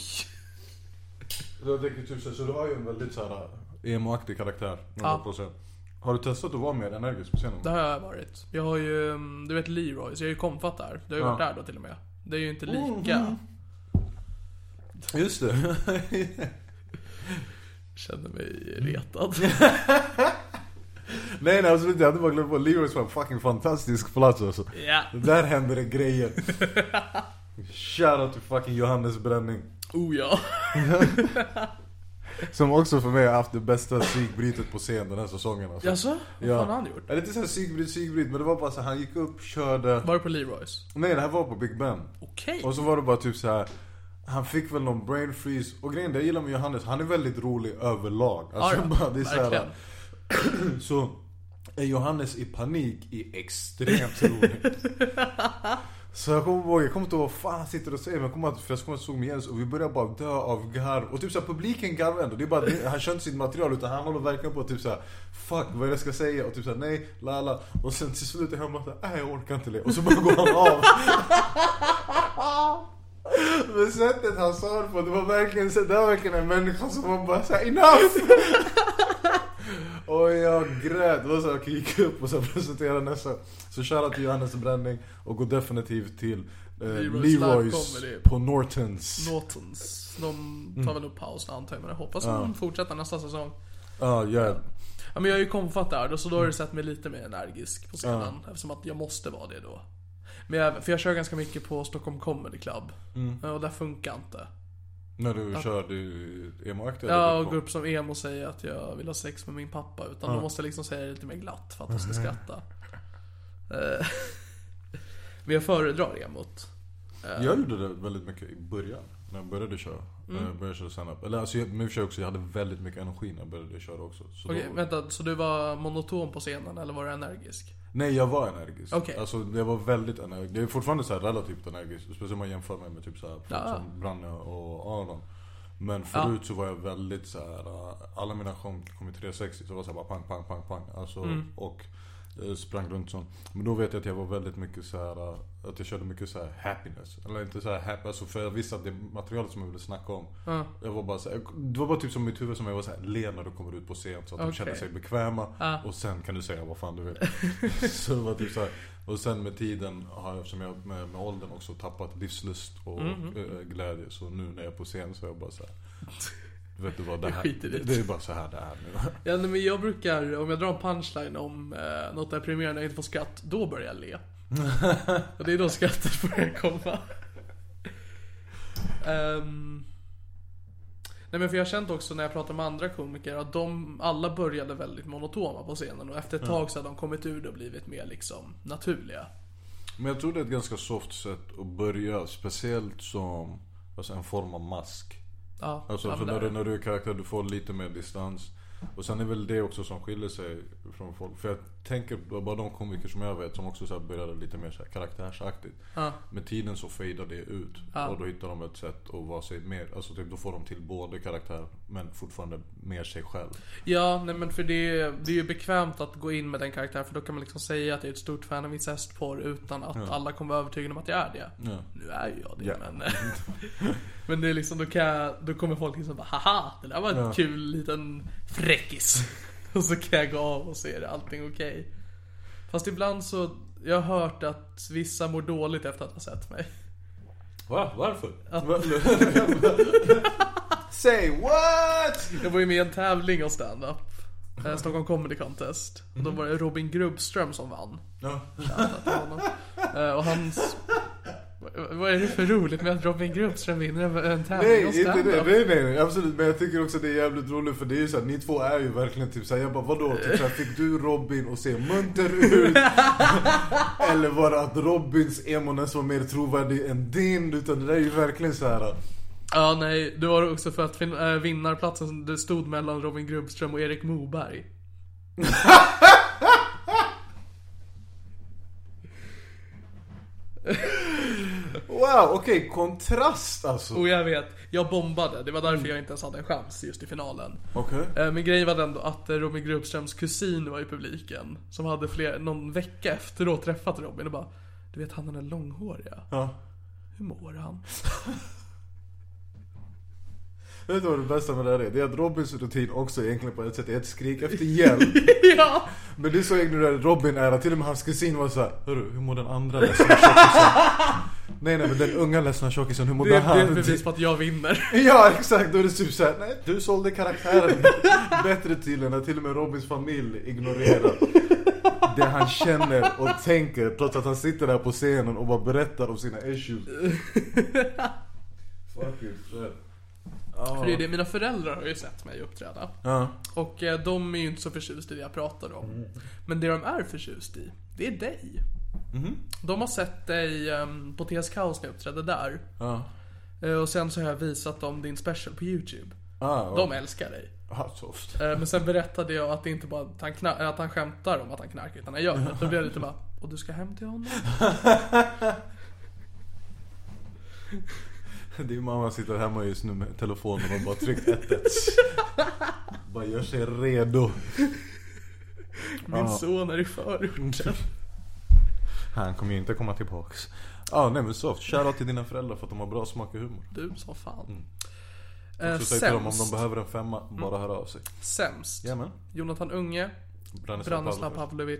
C: Så Jag tänker typ så, här, så du har ju en väldigt såhär emo-aktig karaktär.
B: Ja.
C: Ja. Har du testat att vara mer energisk på scenen?
B: Det har jag varit. Jag har ju, mm, du vet Leroy, så jag är ju komfat där. Du har ju
C: Ja. Mm-hmm.
B: varit där då till och med. Det är ju inte lika.
C: Just det.
B: Känner mig retad.
C: nej nej absolut inte. jag hade bara glömt på. Leroys var en fucking fantastisk plats alltså.
B: Ja.
C: Där händer det grejer. Shoutout till fucking Johannes Bränning.
B: Oh ja.
C: Som också för mig har haft det bästa psykbrytet på scen den här säsongen alltså.
B: Jaså? Vad fan har han gjort?
C: Eller inte såhär psykbryt, psykbryt men det var bara så här, han gick upp, körde.
B: Var det på Leroys?
C: Nej det här var på Big Ben.
B: Okej.
C: Och så var det bara typ så här. Han fick väl någon brain freeze. Och grejen det jag gillar med Johannes, han är väldigt rolig överlag. Alltså
B: Ja, ja.
C: bara, det är så, här,
B: Verkligen.
C: så är Johannes i panik i extremt rolig. Så jag kommer ihåg, jag kommer inte ihåg vad fan han sitter och säger men jag kommer ihåg att för jag kommer ihåg att jag såg med Jens och vi började bara dö av garv. Och typ såhär publiken garvar ändå. Det är bara att han kör inte sitt material utan han håller verkligen på att typ såhär Fuck vad är det jag ska säga? Och typ såhär nej, la la. Och sen till slut är han bara såhär, nej jag orkar inte le. Och så bara går han av. Men sättet han sa det på, det var verkligen så det var verkligen en människa som var bara såhär enough! och jag grät, det var så här, jag gick upp och så presenterade nästa. Så shoutout till Johannes Bränning och gå definitivt till eh,
B: Leroy's
C: Leroy's,
B: Live Comedy.
C: på Nortons.
B: Nortons. De tar väl upp paus nu antar jag, men jag hoppas att de fortsätter nästa säsong.
C: Ja, ja.
B: Ja, men jag är ju komfat där, och så då har du sett mig lite mer energisk på scenen. Eftersom att jag måste vara det då. Men jag, för jag kör ganska mycket på Stockholm Comedy Club. Ja, Och där funkar inte.
C: När du körde emo-aktiga
B: Jag går upp som emo och säger att jag vill ha sex med min pappa. Utan då måste jag liksom säga det lite mer glatt för att de ska skratta. Eh, men jag föredrar emot.
C: Jag gjorde det väldigt mycket i början. När jag började köra.
B: Mm.
C: När jag började köra stand-up. Eller alltså, jag, men i och för sig också, jag hade väldigt mycket energi när jag började köra också. Så
B: Okej,
C: då-
B: vänta. Så du var monoton på scenen eller var du energisk?
C: Nej jag var energisk.
B: Okej.
C: Alltså jag var väldigt energisk. Jag är fortfarande så här relativt energisk. Speciellt om man jämför mig med typ så här, folk
B: Ja.
C: som Branne och Aron. Men förut så äh, var jag
B: Mm.
C: väldigt så här. uh, alla mina skämt kom i 360 så det var så här bara pang, pang, pang, pang. Alltså, och Jag sprang runt sånt. Men då vet jag att jag var väldigt mycket så här eh, att jag körde mycket så här happiness. Eller inte så här happy, alltså för jag visste att det materialet som jag ville snacka om.
B: Ja.
C: Jag var bara så här, det var bara typ som i mitt huvud som jag var så här, le när du kommer ut på scen så att de
B: Okej.
C: känner sig bekväma.
B: Ja.
C: Och sen kan du säga vad fan du vill. så det var typ så här. Och sen med tiden har jag, eftersom jag med, med åldern också tappat livslust och eh, glädje. Så nu när jag är på scen så är jag bara så här. Vet du vad det här,
B: skiter i
C: det,
B: det.
C: det är bara så här det är nu.
B: Ja, nej, men jag brukar, om jag drar en punchline om eh, något är premierande jag inte får skratt, då börjar jag le. Och det är då skrattet börjar komma. Ehm, nej men för jag har känt också när jag pratar med andra komiker att de alla började väldigt monotona på scenen och efter ett tag så har de kommit ur det och blivit mer liksom naturliga.
C: Men jag tror det är ett ganska soft sätt att börja. Speciellt som alltså en form av mask.
B: Ja,
C: Alltså
B: ja,
C: för
B: men
C: när
B: där-
C: du, när du är karaktär, du får lite mer distans. Och sen är väl det också som skiljer sig från folk. För jag tänker på bara de komiker som jag vet som också så här började lite mer så här karaktärsaktigt.
B: Ja.
C: Med tiden så fejdar det ut.
B: Ja.
C: Och då hittar de ett sätt att vara sig mer, alltså typ då får de till både karaktär men fortfarande mer sig själv.
B: Ja, nej men för det, det är ju bekvämt att gå in med den karaktären för då kan man liksom säga att jag är ett stort fan av incestporr utan att alla kommer vara övertygade om att jag är det.
C: Ja.
B: Nu är ju jag det
C: Ja.
B: men... men det är liksom, då, kan jag, då kommer folk liksom bara haha, det där var en
C: Ja.
B: kul liten fräckis. och så kan jag gå av och så är det allting okej. Fast ibland så, jag har hört att vissa mår dåligt efter att ha sett mig.
C: Va? Varför? Say what?
B: Jag var ju med i en tävling av stand-up. eh, Stockholm Comedy Contest. Och då var det Robin Grubbström som vann.
C: Mm. Ja.
B: Shoutout till honom. Eh, Och hans... Vad- Vad är det för roligt med att Robin Grubbström vinner en- en tävling
C: Nej,
B: av
C: inte det.
B: stand-up?
C: Nej, nej, nej, absolut. Men jag tycker också det är jävligt roligt för det är ju såhär, ni två är ju verkligen typ såhär, jag bara vadå? Typ såhär, fick du Robin att se munter ut? Eller var det att Robins emoness var mer trovärdig än din? Utan det där är ju verkligen såhär,
B: Ja, nej. Det var också för att fin- eh, vinnarplatsen det stod mellan Robin Grubbström och Erik Moberg.
C: wow, okej, kontrast alltså.
B: Och jag vet, jag bombade. Det var
C: Mm.
B: därför jag inte ens hade en chans just i finalen.
C: Okej.
B: Eh, Men grejen var den då att eh, Robin Grubbströms kusin var i publiken. Som hade fler, någon vecka efteråt träffat Robin och bara Du vet han den där långhåriga,
C: Ja.
B: hur mår han?
C: Vet du vad det bästa med det här är? Det är att Robins rutin också egentligen på ett sätt är ett skrik efter hjälp.
B: ja!
C: Men det är så ignorerad Robin är att till och med hans kusin var såhär Hörru, hur mår den andra ledsna tjockisen? nej nej men den unga ledsna tjockisen, hur mår
B: Det, det
C: han?
B: är ett bevis på att jag vinner.
C: Ja exakt, då är det typ såhär, nej du sålde karaktären bättre till henne. Till och med Robins familj ignorerar det han känner och tänker trots att han sitter där på scenen och bara berättar om sina issues. Fucking shit.
B: För det är det, mina föräldrar har ju sett mig uppträda.
C: Ja. Mm.
B: Och eh, de är ju inte så förtjust i det jag pratar om. Men det de är förtjust i, det är dig.
C: Mhm.
B: De har sett dig ehm, på TS Kaos när jag uppträdde där.
C: Ja.
B: Eh, Och sen så har jag visat dem din special på YouTube.
C: Ah,
B: De älskar dig.
C: ah, soft.
B: Eh, Men sen berättade jag att det inte bara att han, knar- att han skämtar om att han knarkar utan han gör det. Då blev det lite bara, och du ska hem till honom?
C: Din mamma sitter hemma just nu med telefonen och bara tryckt 1 Bara gör sig redo.
B: Min son är i
C: Mm.
B: förorten.
C: Han kommer ju inte komma tillbaks. Ja, ah, nej men soft. Shoutout till dina föräldrar för att de har bra smak i humor.
B: Du som fan. Eh,
C: Så säg Mm. till dem om de
B: sämst. Mm.
C: behöver en femma, bara höra av sig.
B: Sämst.
C: Jajamän.
B: Jonathan Unge,
C: Branislav
B: Branislav
C: Pavlovic.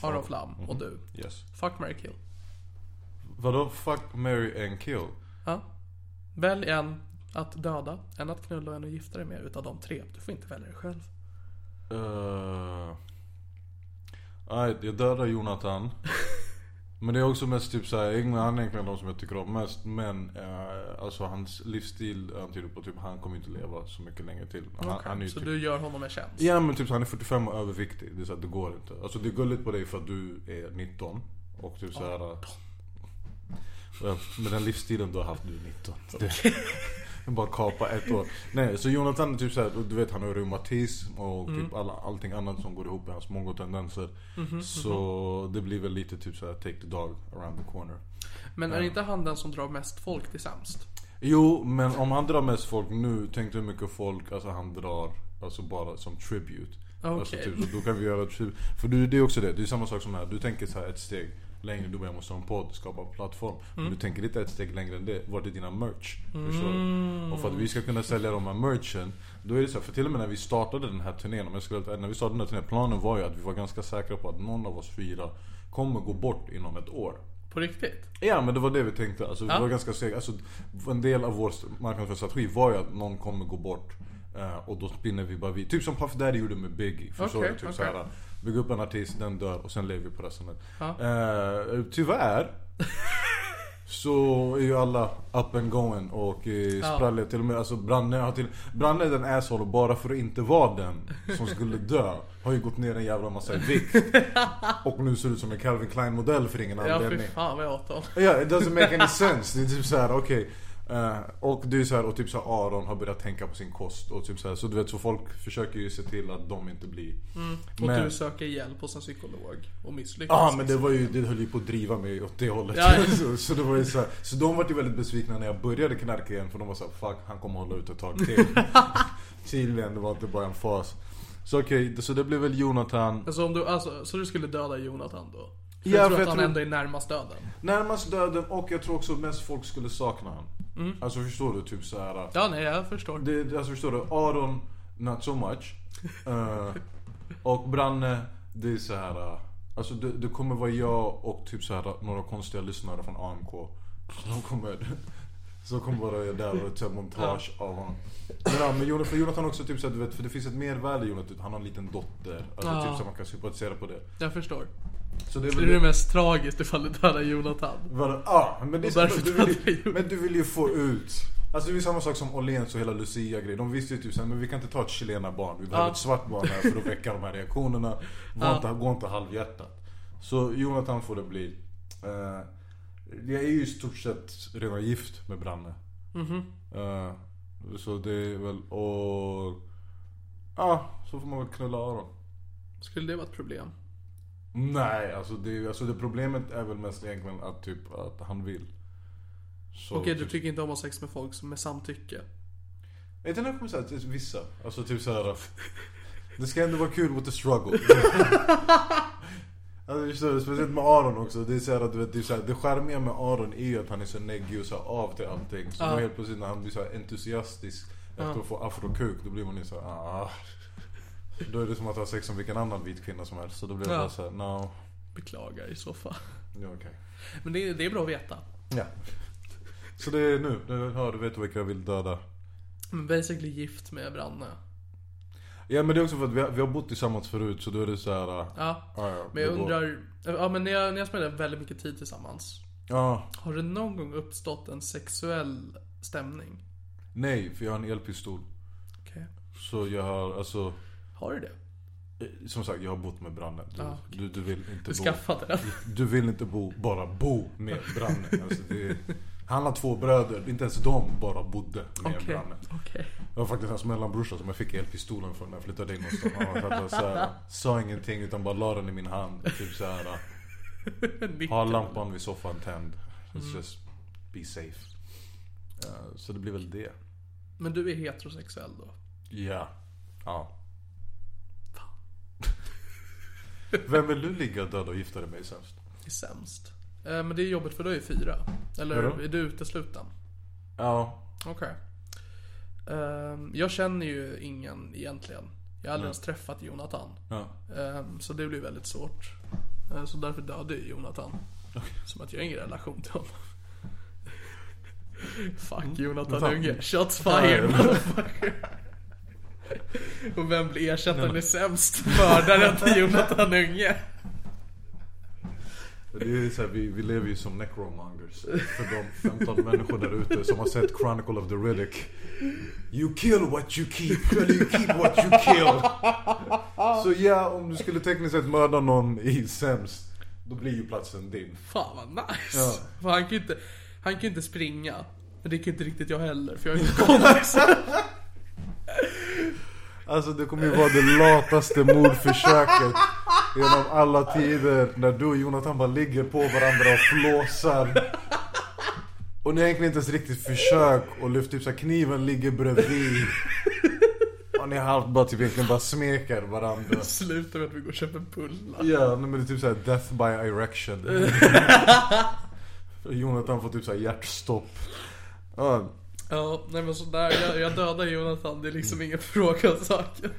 B: Pavlovic, Aron Flam och du.
C: Yes.
B: Fuck, marry, kill.
C: Vadå fuck, marry and kill?
B: Ja. Välj en att döda, en att knulla och en att gifta dig med utav de tre. Du får inte välja dig själv.
C: Uh, nej, jag dödar Jonathan. Men det är också mest typ såhär, Ingmar, han är egentligen de som jag tycker om mest. Men eh, alltså hans livsstil antyder på typ, han kommer inte leva så mycket längre till. Han, han är ju
B: så
C: typ,
B: du gör honom en tjänst.
C: Ja men typ så han är 45 och överviktig. Det är så här, det går inte. Alltså det är gulligt på dig för att du är 19. Och typ såhär... Ja, Med den livsstilen du har haft, du är 19. Det- Bara kapa ett år. Nej, så Jonathan är typ såhär, du vet han har reumatism och typ alla, allting annat som går ihop med hans mongotendenser. Så det blir väl lite typ såhär, take the dog around the corner.
B: Men är inte han den som drar mest folk till sämst?
C: Jo, men om han drar mest folk nu, tänk dig hur mycket folk alltså, han drar alltså bara som tribute. Alltså,
B: Okej.
C: typ, så då kan vi göra ett tjuv- För du, det är också det, det är samma sak som det här. Du tänker så här ett steg längre, du bara jag måste ha en podd, skapa en plattform. Men du tänker inte ett steg längre än det. Vart är dina merch? Förstår du? Och för att vi ska kunna sälja de här merchen, då är det så här, för till och med när vi startade den här turnén, om jag ska vara helt ärlig, när vi startade den här turnén, planen var ju att vi var ganska säkra på att någon av oss fyra kommer gå bort inom ett år.
B: På riktigt?
C: Ja men det var det vi tänkte. Alltså,
B: Ja.
C: Vi var ganska sega. Alltså, en del av vår marknadsföringsstrategi var ju att någon kommer gå bort. eh, Och då spinner vi bara vid. Typ som Puff Daddy gjorde med Biggie. Förstår
B: Okej,
C: du? Typ
B: okej.
C: såhär, bygga upp en artist, den dör och sen lever vi på resten.
B: Ja.
C: Eh, tyvärr. så är ju alla up and going och eh, spralliga. Till och med alltså Branne har till Branne är den asshole och bara för att inte vara den som skulle dö. Har ju gått ner en jävla massa i vikt. Och nu ser ut som en Calvin Klein modell för ingen
B: Ja fy
C: anledning.
B: fan vad jag åt dem.
C: Ja, it doesn't make any sense. Det är typ så här, okej. Eh, och det är så här, och typ så här, Aron har börjat tänka på sin kost och typ så här. Så du vet, så folk försöker ju se till att de inte blir...
B: Och
C: men,
B: du söker hjälp hos en psykolog och misslyckas. liksom.
C: Ja men det var ju, det höll ju på att driva mig åt det hållet.
B: Ja, ja.
C: så, så det var ju så, här, så de var ju väldigt besvikna när jag började knarka igen för de var så här, fuck han kommer hålla ut ett tag till. Tydligen, det var inte bara en fas. Så okej, så det blev väl Jonathan.
B: Alltså, om du, alltså, så du skulle döda Jonathan då? För
C: Ja,
B: jag tror
C: för
B: att
C: jag
B: han
C: tror-
B: ändå är närmast döden.
C: Närmast döden och jag tror också mest folk skulle sakna han. Alltså förstår du? Typ så här.
B: Ja nej jag förstår.
C: Det, det- alltså förstår du? Aron, not so much. Eh, och Branne, det är så här. eh, Alltså det, det kommer vara jag och typ så här några konstiga lyssnare från AMK. Som kommer, som kommer vara där och ta montage av honom. Men, ja, men Jonathan, för Jonathan också typ så här, du vet, för det finns ett mervärde i Jonathan. Han har en liten dotter. Alltså
B: Ja.
C: typ så här, man kan sympatisera på det.
B: Jag förstår.
C: Så det är
B: Det
C: väl
B: är det mest tragiskt ifall du dödar Jonathan.
C: Vadå? Ja, men det är
B: Och
C: så,
B: därför
C: du vill,
B: tar
C: ju-
B: vi-
C: Men du vill ju få ut. Alltså det är ju samma sak som Åhléns och hela Lucia-grejen. De visste ju typ såhär, men vi kan inte ta ett chilenarbarn. Vi behöver
B: Ja.
C: ett svart barn här för att väcka de här reaktionerna. Var
B: Ja.
C: inte, gå inte halvhjärtat. Så Jonathan får det bli. Eh, jag är ju i stort sett redan gift med Branne.
B: Mhm.
C: Eh, så det är väl, och... Ja, så får man väl knulla Aron.
B: Skulle det vara ett problem?
C: Nej, alltså det, alltså det problemet är väl mest egentligen att typ att han vill. Så
B: Okej du
C: typ,
B: tycker inte om att ha sex med folk som med samtycke?
C: Jag tänker kommer säga till vissa. Alltså typ såhär. Det ska ändå vara kul with the struggle. Alltså förstår du? Speciellt med Aron också. Det är såhär att du vet, det, är så här, det charmiga med Aron är ju att han är så neggig och så här av till allting. Så då helt plötsligt när han blir så här entusiastisk efter att få afrokuk, då blir man ju såhär ah. Då är det som att ha sex med vilken annan vit kvinna som helst. Så då blir det
B: Ja.
C: bara såhär, no.
B: Beklagar i så fall.
C: Ja, okej.
B: Men det, är- det är bra att veta.
C: Ja. Så det är nu. Nu hör du vet du vilka jag vill döda.
B: Men basically gift med Branne.
C: Ja men det är också för att vi har, vi har bott tillsammans förut så då är det så här. Ja,
B: Ja.
C: ja,
B: Men jag
C: det går.
B: undrar, ja men ni har, ni har spenderat väldigt mycket tid tillsammans.
C: Ja,
B: Har det någon gång uppstått en sexuell stämning?
C: nej för jag har en elpistol.
B: Okej.
C: Så jag har alltså.
B: Har du det?
C: eh, Som sagt jag har bott med Branne. Du,
B: Ja, okej.
C: du, du vill inte
B: Du
C: bo.
B: skaffade den?
C: Du vill inte bo, bara bo med Branne. Alltså, det är, han har två bröder, inte ens de bara bodde med
B: Okej.
C: Branne.
B: Okej.
C: Jag var faktiskt hans mellanbrorsa som jag fick elpistolen från när jag flyttade in hos dem. Han var så här- så här, sa ingenting utan bara la den i min hand. och Typ så här. Ha lampan vid soffan tänd. Let's just be safe. Eh, så det blir väl det.
B: Men du är heterosexuell då?
C: Ja. Ja. Vem vill du ligga och döda och gifta dig med sämst?
B: Det är sämst. Eh, Men det är jobbigt för du är fyra. Eller
C: Vadå?
B: är du utesluten?
C: Ja.
B: Okej. Ehm, jag känner ju ingen egentligen. Jag har aldrig ens träffat Jonathan.
C: ja.
B: Ehm, så det blir väldigt svårt. Eh, så därför dödade jag Jonathan. Som att jag har ingen relation till honom. Fuck Jonathan
C: Mm. Vänta.
B: Unge. Shots fired.
C: Ja,
B: motherfucker. Och vem blir ersättaren i sämst? Mördaren till Jonathan Unge.
C: Det är så här, vi, vi lever ju som necromongers. För de 15 människor där ute som har sett Chronicle of the Riddick. You kill what you keep, eller you keep what you kill. Så ja, om du skulle tekniskt sett mörda någon i sämst, då blir ju platsen din.
B: Fan vad nice.
C: Ja.
B: För han kan ju inte, han kan ju inte springa. Men det kan ju inte riktigt jag heller för jag är inte kompisar.
C: Alltså det kommer ju vara det lataste mordförsöket genom alla tider när du och Jonathan bara ligger på varandra och flåsar. Och ni har egentligen inte ens riktigt försök och lyft typ så här, kniven ligger bredvid. Och ni halvt bara typ egentligen bara smeker varandra.
B: Sluta med att vi går och köper bullar.
C: Ja, nej, men det är typ såhär death by erection. Jonathan får typ såhär hjärtstopp. Ja,
B: Ja, nej men sådär. Jag, jag dödar Jonathan, det är liksom ingen fråga om saken.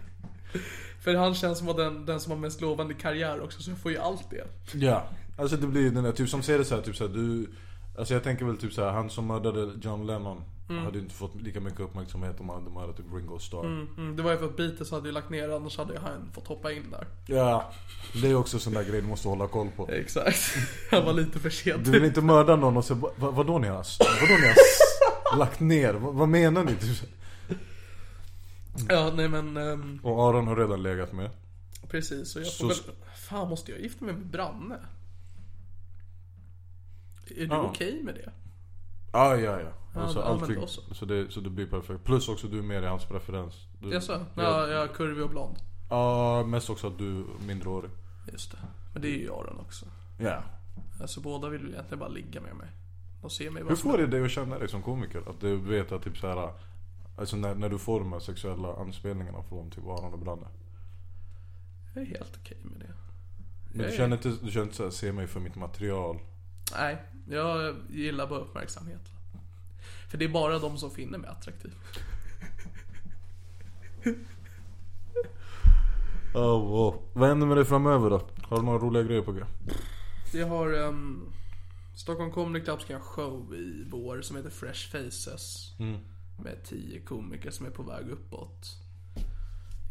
B: För han känns som den, den som har mest lovande karriär också, så jag får ju allt det.
C: ja. Alltså det blir den där typ som ser det såhär typ såhär du. Alltså jag tänker väl typ såhär han som mördade John Lennon. Hade ju inte fått lika mycket uppmärksamhet om han hade mördat typ Ringo Starr.
B: Mm, det var ju för att Beatles hade ju lagt ner, annars hade ju han fått hoppa in där.
C: Ja. Det är också sån där grej du måste hålla koll på.
B: Exakt. Han var lite för sent.
C: Du vill inte mörda någon och så bara, "Va- vadå ni har, s- vadå ni har s- lagt ner? Vad, vad menar ni? Typ så-
B: Ja, nej men ehm,
C: Och Aron har redan legat med.
B: precis. Så jag
C: Så
B: får väl...
C: ska-
B: Fan, måste jag gifta mig med Branne? Är du
C: Ja.
B: okej med det?
C: Ah, ja, ja.
B: Ja,
C: Och så,
B: men- ja, men då
C: allting,
B: så.
C: så, det, så det blir perfekt. Plus också du är mer i hans preferens. Du,
B: Jaså?
C: ja.
B: Ja, jag är kurvig och blond.
C: Ja, mest också att du är mindreårig.
B: Just det. Men det är ju Aron också.
C: Ja.
B: Alltså båda vill ju egentligen bara ligga med mig. De ser mig
C: Hur
B: bara som
C: får det dig att känna dig som komiker? Att du vet att typ så här, Alltså när, när du får de här sexuella anspelningarna från typ Aron och Branne.
B: Jag är helt okej med det.
C: Men du
B: Nej.
C: känner inte, du känner inte såhär, se mig för mitt material.
B: Nej, jag gillar bara uppmärksamhet. va. För det är bara de som finner mig attraktiv.
C: Oh, wow. Vad händer med dig framöver då? Har du några roliga grejer på g?
B: Jag har ehm, Stockholm Comedy Club ska jag ha show i vår som heter Fresh Faces. Med tio komiker som är på väg uppåt.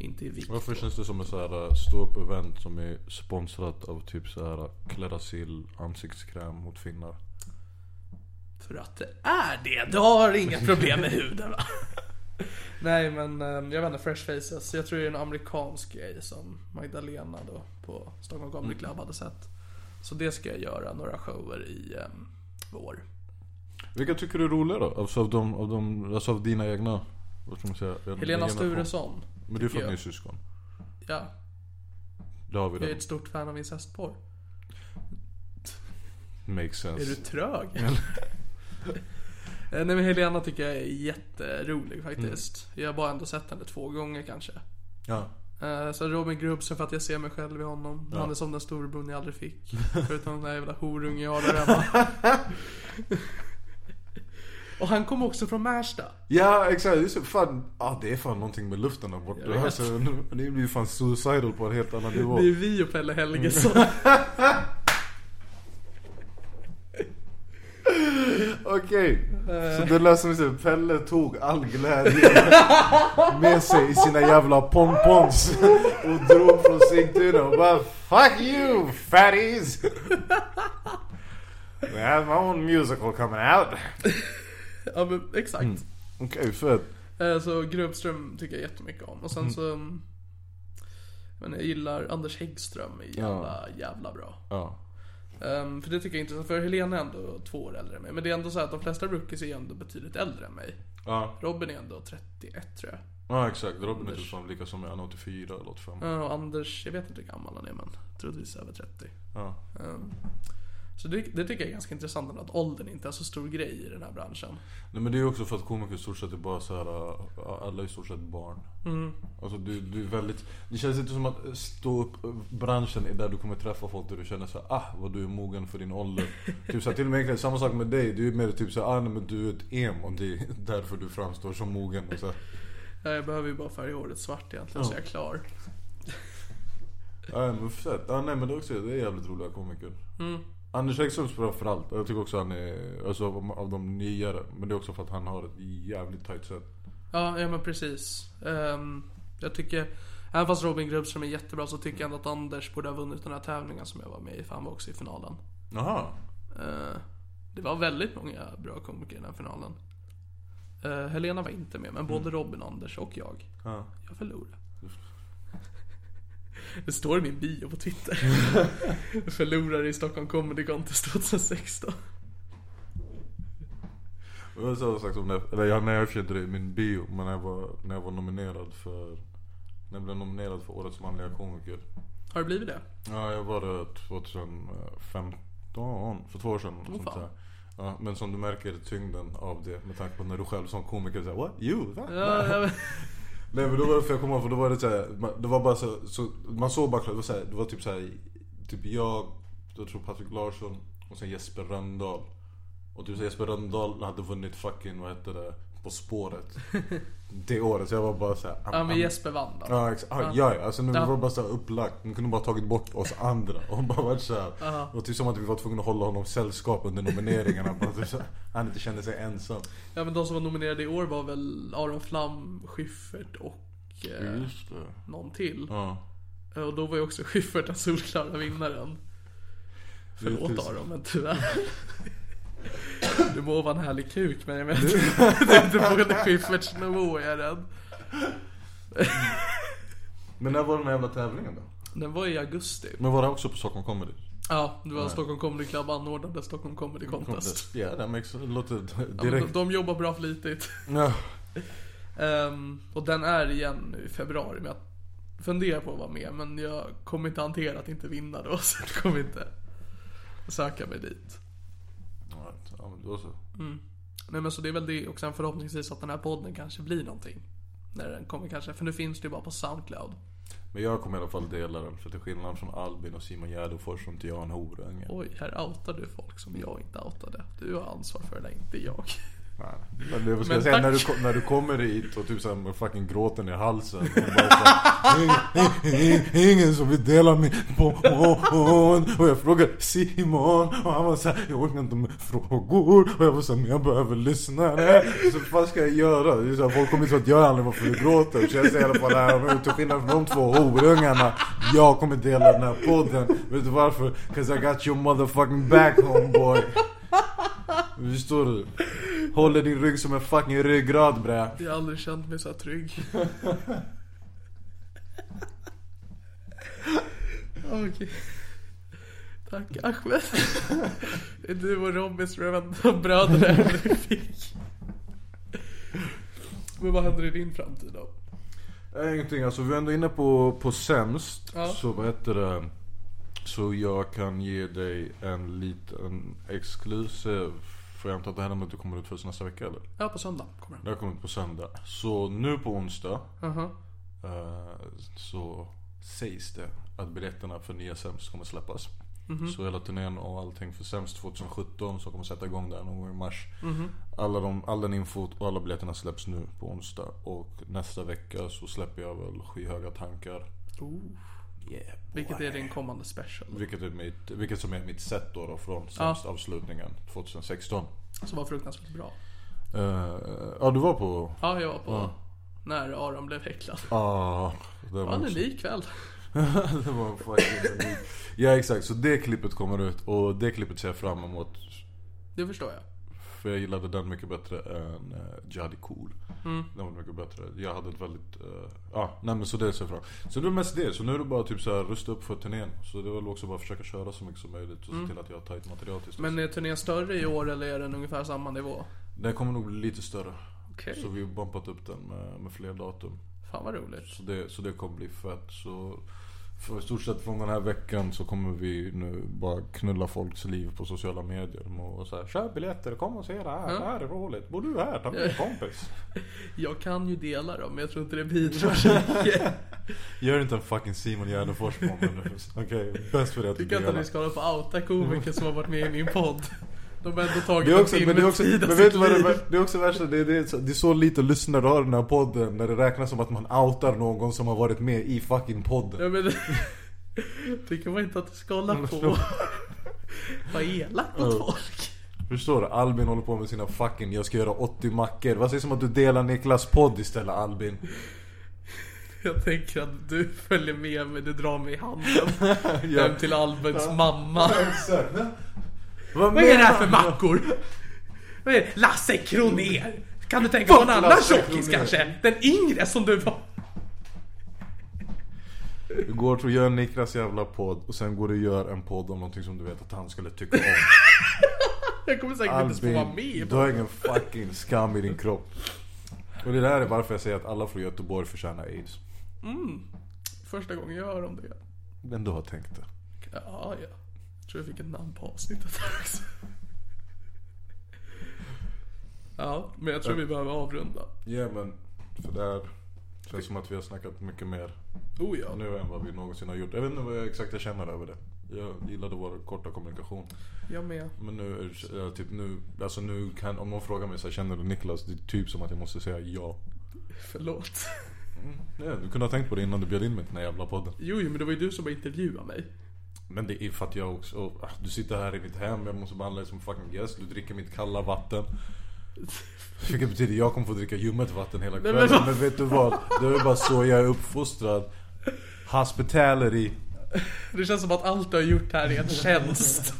B: Inte i vikt.
C: Varför känns det som ett såhär ståupp event som är sponsrat av typ såhär Clarasil ansiktskräm mot finnar?
B: För att det är det. Du har inga problem med huden va? Nej men ehm, jag vet inte, Fresh Faces. Jag tror det är en amerikansk grej som Magdalena då på Stockholm Comedy Club hade sett. Så det ska jag göra, några shower i um, vår.
C: Vilka tycker du är roliga då? Alltså av, de, av, de, alltså av dina egna? Vad ska man säga?
B: Helena
C: Dina
B: Sturesson.
C: folk. Men det är för att
B: jag.
C: ni är syskon.
B: Ja,
C: Det har vi
B: jag är
C: redan.
B: ett stort fan av incestporr.
C: Makes
B: Är du
C: sense.
B: trög eller? Eh, Nej men Helena tycker jag är jätterolig faktiskt. Jag har bara ändå sett henne två gånger kanske.
C: Ja.
B: Eh, Så Robin Grubbsen för att jag ser mig själv i honom. Han är som den storebror jag aldrig fick. Förutom den där jävla horungen jag har där hemma. Och han kom också från Märsta.
C: Ja exakt, det är, så, fan, ah, det är fan någonting med luften där borta.
B: vet.
C: Alltså, ni blir fan suicidal på en helt annan nivå.
B: Det är vi och Pelle Helgesson.
C: Okej,
B: Eh.
C: så det lät som att Pelle tog all glädje med sig i sina jävla pompons och drog från zinktunnan och bara Fuck you fatties! I have my own musical coming out.
B: ja men exakt.
C: Okej, fett.
B: Eh, Så Grubbström tycker jag jättemycket om. Och sen så... mm, Men jag gillar Anders Häggström är jävla, jävla bra.
C: Ja.
B: Ehm, för det tycker jag är intressant, för Helena är ändå två år äldre än mig. Men det är ändå så här att de flesta rookies är ändå betydligt äldre än mig.
C: Ja,
B: Robin är ändå 31 tror jag.
C: ja exakt. Robin är typ som lika som jag, han är 84 eller 85.
B: Ja, Ehm, och Anders, jag vet inte hur gammal han är men troligtvis över 30.
C: Ja.
B: Ehm, så det, det tycker jag är ganska intressant ändå, att åldern inte är så stor grej i den här branschen.
C: Nej men det är ju också för att komiker i stort sett är bara så här, äh, alla är i stort sett barn. Alltså du, du är väldigt, det känns inte som att stå upp äh, branschen är där du kommer träffa folk där du känner så här, ah vad du är mogen för din ålder. typ så här, till och med egentligen samma sak med dig, du är mer typ så här, ah nej, men du är ett em och det är därför du framstår som mogen och så här.
B: Ja, Eh, jag behöver ju bara färga håret svart egentligen så jag är klar.
C: Ja men fett, ah, nej men det är också, det är jävligt roliga komiker. Anders Häggström framförallt, jag tycker också han är, alltså av- av de nyare. Men det är också för att han har ett jävligt tight set.
B: Ja, ja men precis. Ehm, jag tycker, även fast Robin Grubbström är jättebra så tycker jag ändå att Anders borde ha vunnit den här tävlingen som jag var med i, för han var också i finalen.
C: Jaha.
B: Eh, Det var väldigt många bra komiker i den här finalen. Eh, Helena var inte med, men både Robin, Anders och jag.
C: Mm. Ja.
B: Jag förlorade. Det står i min bio på Twitter. Jag Förlorade i Stockholm Comedy Contest 2016.
C: Jag har samma sak som när, eller jag, när jag körde det i min bio, men när jag, var, när jag var nominerad för När jag blev nominerad för årets manliga komiker
B: Har det blivit det?
C: Ja jag var det 2015, för två år sedan oh, sånt
B: fan.
C: där. Ja, men som du märker tyngden av det med tanke på när du själv som komiker säger What? You? Va?
B: Ja, jag,
C: Nej men då var det, för jag kommer ihåg, för då var det såhär, man, det var bara så, så man såg bara klart, det var, så här, det var typ såhär, typ jag, jag tror Patrik Larsson och sen Jesper Rönndahl. Och typ så här, Jesper Rönndahl hade vunnit fucking, vad heter det, På spåret. Det året, så jag var bara såhär. am-
B: Ja men
C: am-
B: Jesper vann då.
C: Ja, exa- ja, ja, ja. Alltså, nu
B: Ja.
C: var det bara så här upplagt. Man kunde bara tagit bort oss andra och bara varit såhär.
B: Ja.
C: Och typ som att vi var tvungna att hålla honom sällskap under nomineringarna. bara, typ, så här, han inte kände sig ensam.
B: Ja men de som var nominerade i år var väl Aron Flam, Schyffert och eh,
C: Just det.
B: någon till.
C: Mm. Ja.
B: Eh, Och då var ju också Schyffert den solklara vinnaren.
C: Det är
B: Förlåt
C: tusen.
B: Aron men tyvärr. Du må vara en härlig kuk men jag menar det är inte på Schyfferts nivå är den.
C: Men när var den här jävla tävlingen då?
B: Den var i augusti.
C: Men var det också på Stockholm Comedy?
B: Ja, det var Stockholm Comedy Club anordnade Stockholm Comedy Contest.
C: Ja, det makes, det låter
B: Ja, men de,
C: direkt...
B: de jobbar bra flitigt.
C: Ja.
B: Ehm, och den är igen nu i februari. Men jag funderar på att vara med. Men jag kommer inte hantera att inte vinna då. Så jag kommer inte söka mig dit.
C: Alright, Ja, men då så.
B: Nej men så det är väl det. Och sen förhoppningsvis att den här podden kanske blir någonting. När den kommer kanske. För nu finns det ju bara på Soundcloud.
C: Men jag kommer i alla fall dela den för till skillnad från Albin och Simon Gärdenfors så är inte jag en horunge.
B: Oj, här outar du folk som jag inte outade. Du har ansvar för det, inte jag.
C: Nej, Men det var- ska
B: Men
C: jag säga,
B: tack.
C: när du, kom- när du kommer hit och typ såhär med fucking gråten i halsen. och bara så här, Ingen som vill dela min podd. Och jag frågade Simon och han var såhär, jag orkar inte med frågor. Och jag var såhär, men jag behöver lyssna. Så vad fan ska jag göra? Det är så här, folk kommer inte att jag aldrig varför du gråter. Så jag säger i alla fall här och nu, till skillnad från de två horungarna. Jag kommer dela den här podden. Vet du varför? 'Cause I got your motherfucking back homeboy. Förstår du? Håller din rygg som en fucking ryggrad bre.
B: Jag har aldrig känt mig så här trygg. Okej. Tack Ahmed. Det är Du och Robins bröder vi fick. Men vad händer i din framtid då?
C: Nej, Ingenting, alltså vi är ändå inne på, på sämst.
B: Ja.
C: Så vad heter det? Så jag kan ge dig en liten exklusiv. För jag antar att det här numret du kommer ut först nästa vecka eller?
B: Ja, på söndag kommer den.
C: Det här kommer ut på söndag. Så nu på onsdag
B: Aha.
C: eh, så sägs det att biljetterna för nya sämst kommer släppas. Så hela turnén och allting för sämst 2017 så kommer sätta igång där någon gång i mars. Alla de, all den infot och alla biljetterna släpps nu på onsdag. Och nästa vecka så släpper jag väl Skyhöga tankar.
B: Oh.
C: Yeah, Mm.
B: Vilket är din kommande special.
C: vilket, är mitt, vilket som är mitt set då, då från
B: Ja.
C: sämst avslutningen 2016.
B: Som var fruktansvärt bra.
C: Eh, ja du var på...
B: Ja, jag var på när Aron blev häcklad.
C: Ah, det
B: Det var en unik kväll.
C: det var en fucking unik. Ja exakt, så det klippet kommer ut och det klippet ser jag fram emot.
B: Det förstår jag.
C: För jag gillade den mycket bättre än uh, Jadi Cool.
B: Mm.
C: Den var mycket bättre. Jag hade ett väldigt, eh, ja nej men så det ser jag fram Så det är mest det, så nu är det bara typ så här rusta upp för turnén. Så det är väl också bara försöka köra så mycket som möjligt och se till att jag har tajt material tills
B: Mm. Men
C: dess.
B: är turnén större i år eller är den ungefär samma nivå?
C: Den kommer nog bli lite större.
B: Okej.
C: Så vi har bumpat upp den med, med fler datum.
B: Fan vad roligt.
C: Så det, så det kommer bli fett. Så för i stort sett från den här veckan så kommer vi nu bara knulla folks liv på sociala medier. Och så här, köp biljetter, kom och se det här. Det här är roligt. Bor du här? Ta med en kompis.
B: Jag kan ju dela dem, men jag tror inte det bidrar så mycket.
C: Gör inte en fucking Simon Gärdenfors på mig nu. Okej, bäst för dig att du
B: Tycker inte att
C: delar.
B: ni ska hålla på och outa komiker som har varit med i min podd. De har ändå tagit
C: Det är också,
B: en
C: men det
B: timme
C: är också,
B: tid av
C: men vet
B: sitt
C: du vad det,
B: liv.
C: är? det är också värsta, det är, det, är så, det är så lite lyssnare du har i den här podden när det räknas som att man outar någon som har varit med i fucking podden.
B: Ja, men, tycker man inte att du ska hålla på. Vad elakt mot folk.
C: Förstår du? Albin håller på med sina fucking jag ska göra 80 mackor. Vad sägs om att du delar Niklas podd istället Albin?
B: Jag tänker att du följer med mig, du drar mig i handen.
C: Ja.
B: Hem till Albins mamma.
C: Exakt. Vad
B: Vad är det här för
C: du?
B: mackor? Vad är det? Lasse Kronér! Kan du tänka på en annan
C: Lasse
B: tjockis
C: Kronér.
B: kanske? Den yngre som du var.
C: Du går och gör Niklas jävla podd och sen går du och gör en podd om någonting som du vet att han skulle tycka om.
B: Jag kommer säkert inte ens få vara med i
C: Albin, du har ingen fucking skam i din kropp. Och det där är varför jag säger att alla från Göteborg förtjänar aids.
B: Första gången jag hör om det.
C: Men du har tänkt det.
B: Ja, ja. Jag tror jag fick ett namn på avsnittet här också. Ja, men jag tror vi behöver avrunda.
C: Ja men, för där Känns som att vi har snackat mycket mer
B: Oh ja.
C: nu än vad vi någonsin har gjort. Jag vet inte vad jag exakt jag känner över det. Jag gillade vår korta kommunikation.
B: Jag med.
C: Men nu, är- eh, typ nu, alltså nu kan, om någon frågar mig så här, känner du Niklas? Det är typ som att jag måste säga ja.
B: Förlåt.
C: Nej, du kunde ha tänkt på det innan du bjöd in mig till den här jävla podden.
B: Jo, jo, men det var ju du som bara intervjuade mig.
C: Men det är för att jag också, och, ah, du sitter här i mitt hem, jag måste behandla dig som fucking gäst. Du dricker mitt kalla vatten. Vilket betyder att jag kommer få dricka ljummet vatten hela
B: men
C: kvällen. Men,
B: vad
C: vet du vad? Det är bara så jag är uppfostrad. Hospitality.
B: Det känns som att allt du har gjort här är en tjänst.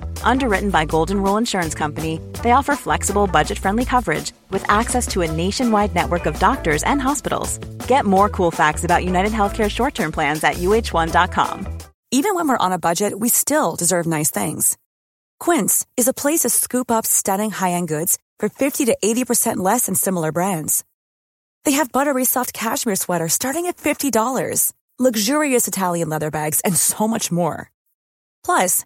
D: Underwritten by Golden Rule Insurance Company, they offer flexible, budget friendly coverage with access to a nationwide network of doctors and hospitals. Get more cool facts about United Healthcare short term plans at uh1.com.
E: Even when we're on a budget, we still deserve nice things. Quince is a place to scoop up stunning high-end goods for 50 to 80% less than similar brands. They have buttery soft cashmere sweaters starting at $50, luxurious Italian leather bags, and so much more. Plus,